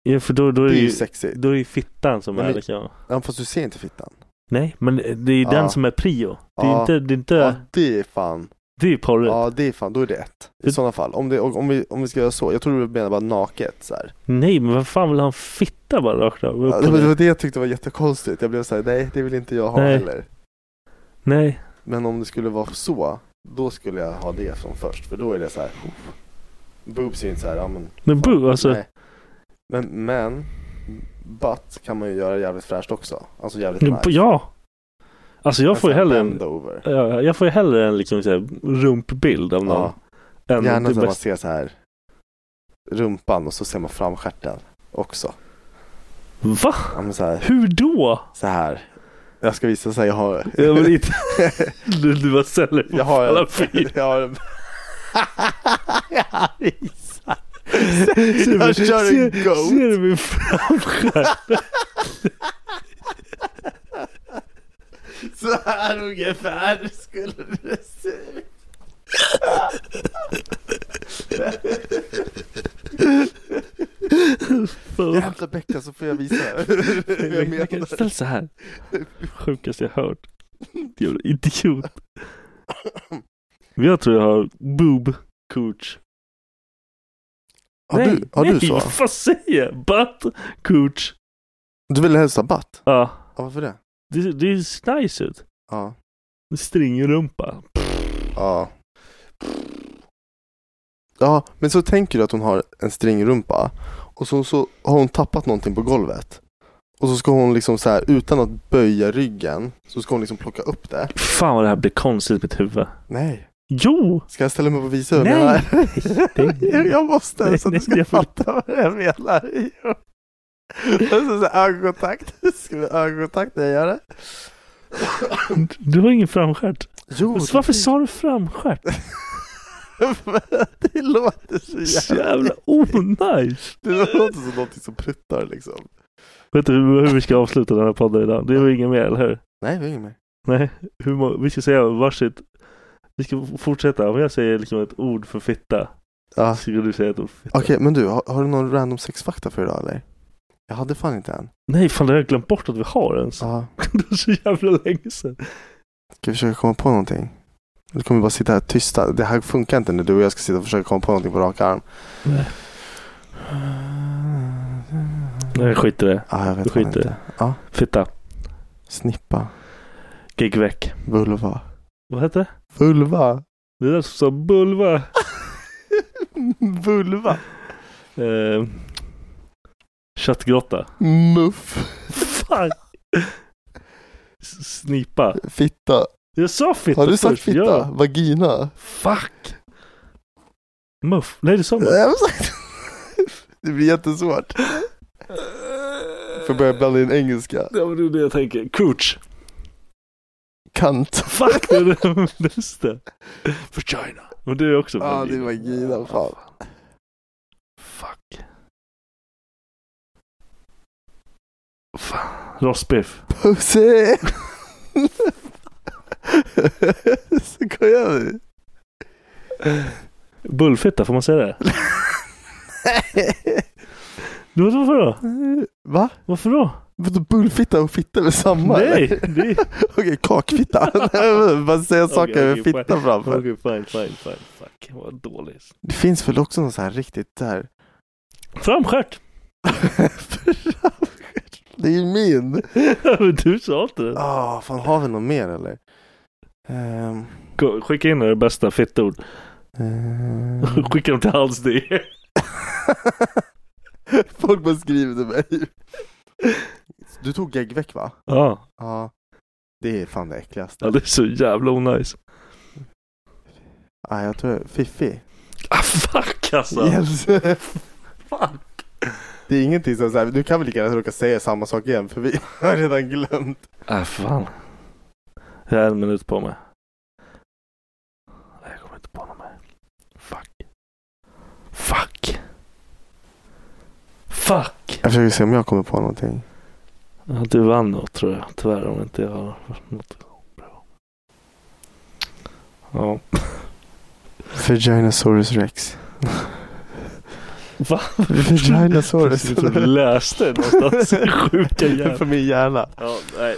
Ja för då, då är
Det
det
är ju
ju
sexigt.
då är det ju fittan som
Men
är
det-
liksom.
Ja, fast du ser inte fittan.
Nej men eh, det är ju
Ja.
den som är prio. Det är
Ja.
inte, det är inte,
Ja, det är fan.
det är ju porrigt.
Ja, det är fan. Då är det ett. I
Det-
sådana fall. Om, det, om, vi, om vi ska göra så. Jag tror du menar bara naket så här.
Nej men vad fan vill han fitta bara rakt av?
Ja,
Upp
det
och
var det
ner.
var det jag tyckte var jättekonstigt. Jag blev så här, nej det vill inte jag ha
Nej.
heller.
Nej.
Men om det skulle vara så, då skulle jag ha det som först. För då är det så här. oh. Boobs är ju inte så här, ja men.
Men
fan,
bu alltså.
nej. Men, men. Butt kan man ju göra jävligt fräscht också. Alltså jävligt
Nu- Ja. Alltså jag får ju hellre en,
Bend over.
ja, jag får ju hellre en liksom så här rumpbild av någon.
Ja.
än
Gärna
det
när man
bästa.
ser så här rumpan och så ser man framstjärten också.
Va?
Ja, men så här,
Hur då?
så här. Jag ska visa så här, jag har...
Jag vill
[LAUGHS]
inte... Du, du var säljer
Jag har
alla fyra.
[LAUGHS] Jag har
[LAUGHS]
en...
Ser
Jag
du-
kör en
ser-
goat.
Ser du min framskärm?
Så här ungefär skulle det se ut. Jävla Becka så får jag visa hur [LAUGHS] jag menar.
Ställ så här. Sjukaste jag hört. Jävla idiot. Men Jag tror jag har boob coach.
Har
nej,
du, har
nej,
du så?
vad säger jag? Butt coach.
Du vill hälsa Batt?
Ja,
Ja, varför det?
det, det ser nice ut.
Ja.
Stringrumpa.
Ja. Ja, men så tänker du att hon har en stringrumpa och så, så har hon tappat någonting på golvet. Och så ska hon liksom så här utan att böja ryggen så ska hon liksom plocka upp det.
Fan vad det här blir konstigt i mitt huvud.
Nej.
Jo!
Ska jag ställa mig upp och visa hur jag
Nej.
menar?
Det-
[LAUGHS] Jag måste
Nej,
så att
nej,
du ska
jag får-
fatta vad jag menar. Jo. Och så, så här, ögonkontakt. Ska vi ögonkontakt när jag gör det?
Du har ingen framstjärt.
Jo,
Men så Varför sa du framstjärt?
[LAUGHS] det låter
Så
så jävla...
jävla onajs.
Det låter som någonting som pruttar liksom.
Vet du hur, hur vi ska avsluta den här podden idag? Det var inget mer, eller hur?
Nej, det är inget mer.
Nej, hur må- vi ska säga varsitt. Vi ska f- fortsätta. Om jag säger liksom ett ord för fitta.
Ja.
Så ska du säga ett ord för fitta.
Okej, men du, har, har du någon random sexfakta för idag eller? Jag hade fan inte en.
Nej, fan det har jag glömt bort att vi har ens.
Ja.
[LAUGHS] Det var så jävla länge sedan.
Ska vi försöka komma på någonting? Eller kommer vi bara sitta här tysta? Det här funkar inte när du och jag ska sitta och försöka komma på någonting på rak arm.
Nej.
Ah.
Nej, skit i det.
Ja, jag vet
Du
fan
skiter.
inte. Ja.
Fitta.
Snippa.
Gig väck.
Vulva.
Vad heter det?
Vulva.
Det där som sa bulva.
[LAUGHS] Vulva.
Eh, köttgrotta.
Muff.
Fan. S- Snipa.
Fitta.
Jag sa fitta
Har du sagt
först.
fitta?
Ja.
Vagina.
Fuck. Muff. Nej, du sa muff.
Nej, jag har sagt- Det blir jättesvårt. Får börja blanda in engelska.
Ja, men det är det jag tänker. Cooch.
Kant.
Fuck, det är det. [LAUGHS] Just det. Vagina. Men det är också
Ja,
vagina.
det är vagina. Fan.
Fuck. Fan. Rostbiff.
Pussy! Skojar du?
Bullfitta, får man säga det? Du, Varför då?
Va?
Varför då?
Vadå bullfitta och fitta är väl samma?
Nej,
eller?
det är...
Okej, kakfitta. [LAUGHS] Bara säga saker
Okej,
med
okej,
fitta framför.
Okej, fine, fine, fine. Fuck, vad dålig.
Det finns väl också någon så här riktigt där.
Framstjärt!
[LAUGHS] det är ju min!
Men du sa inte det.
Ah, fan har vi någon mer eller? Ehm,
Gå- Skicka in det bästa fittord.
ehm.
[LAUGHS] Skicka dem till hans det.
Folk bara skriver till mig. Du tog geggveck va?
Ja,
Ja. Det är fan det äckligaste.
ja, det är så jävla onajs.
Ah, jag tror Fiffi.
Ah, fuck alltså!
Yes.
Fan.
Det är ingenting som såhär, du kan väl lika gärna råka säga samma sak igen för vi har redan glömt.
Ah, fan. Jag har en minut på mig. Nej, jag kommer inte på något mer. Fuck. Fuck. Fuck!
Jag försöker se om jag kommer på någonting.
Ja, du vann nog tror jag. Tyvärr om inte jag har något bra.
[LAUGHS]
Ja.
Vaginosaurus rex.
Va?
Vaginosaurus.
Precis som du läste
[LAUGHS]
någonstans. Sjuka jävel.
För min hjärna.
Ja, nej.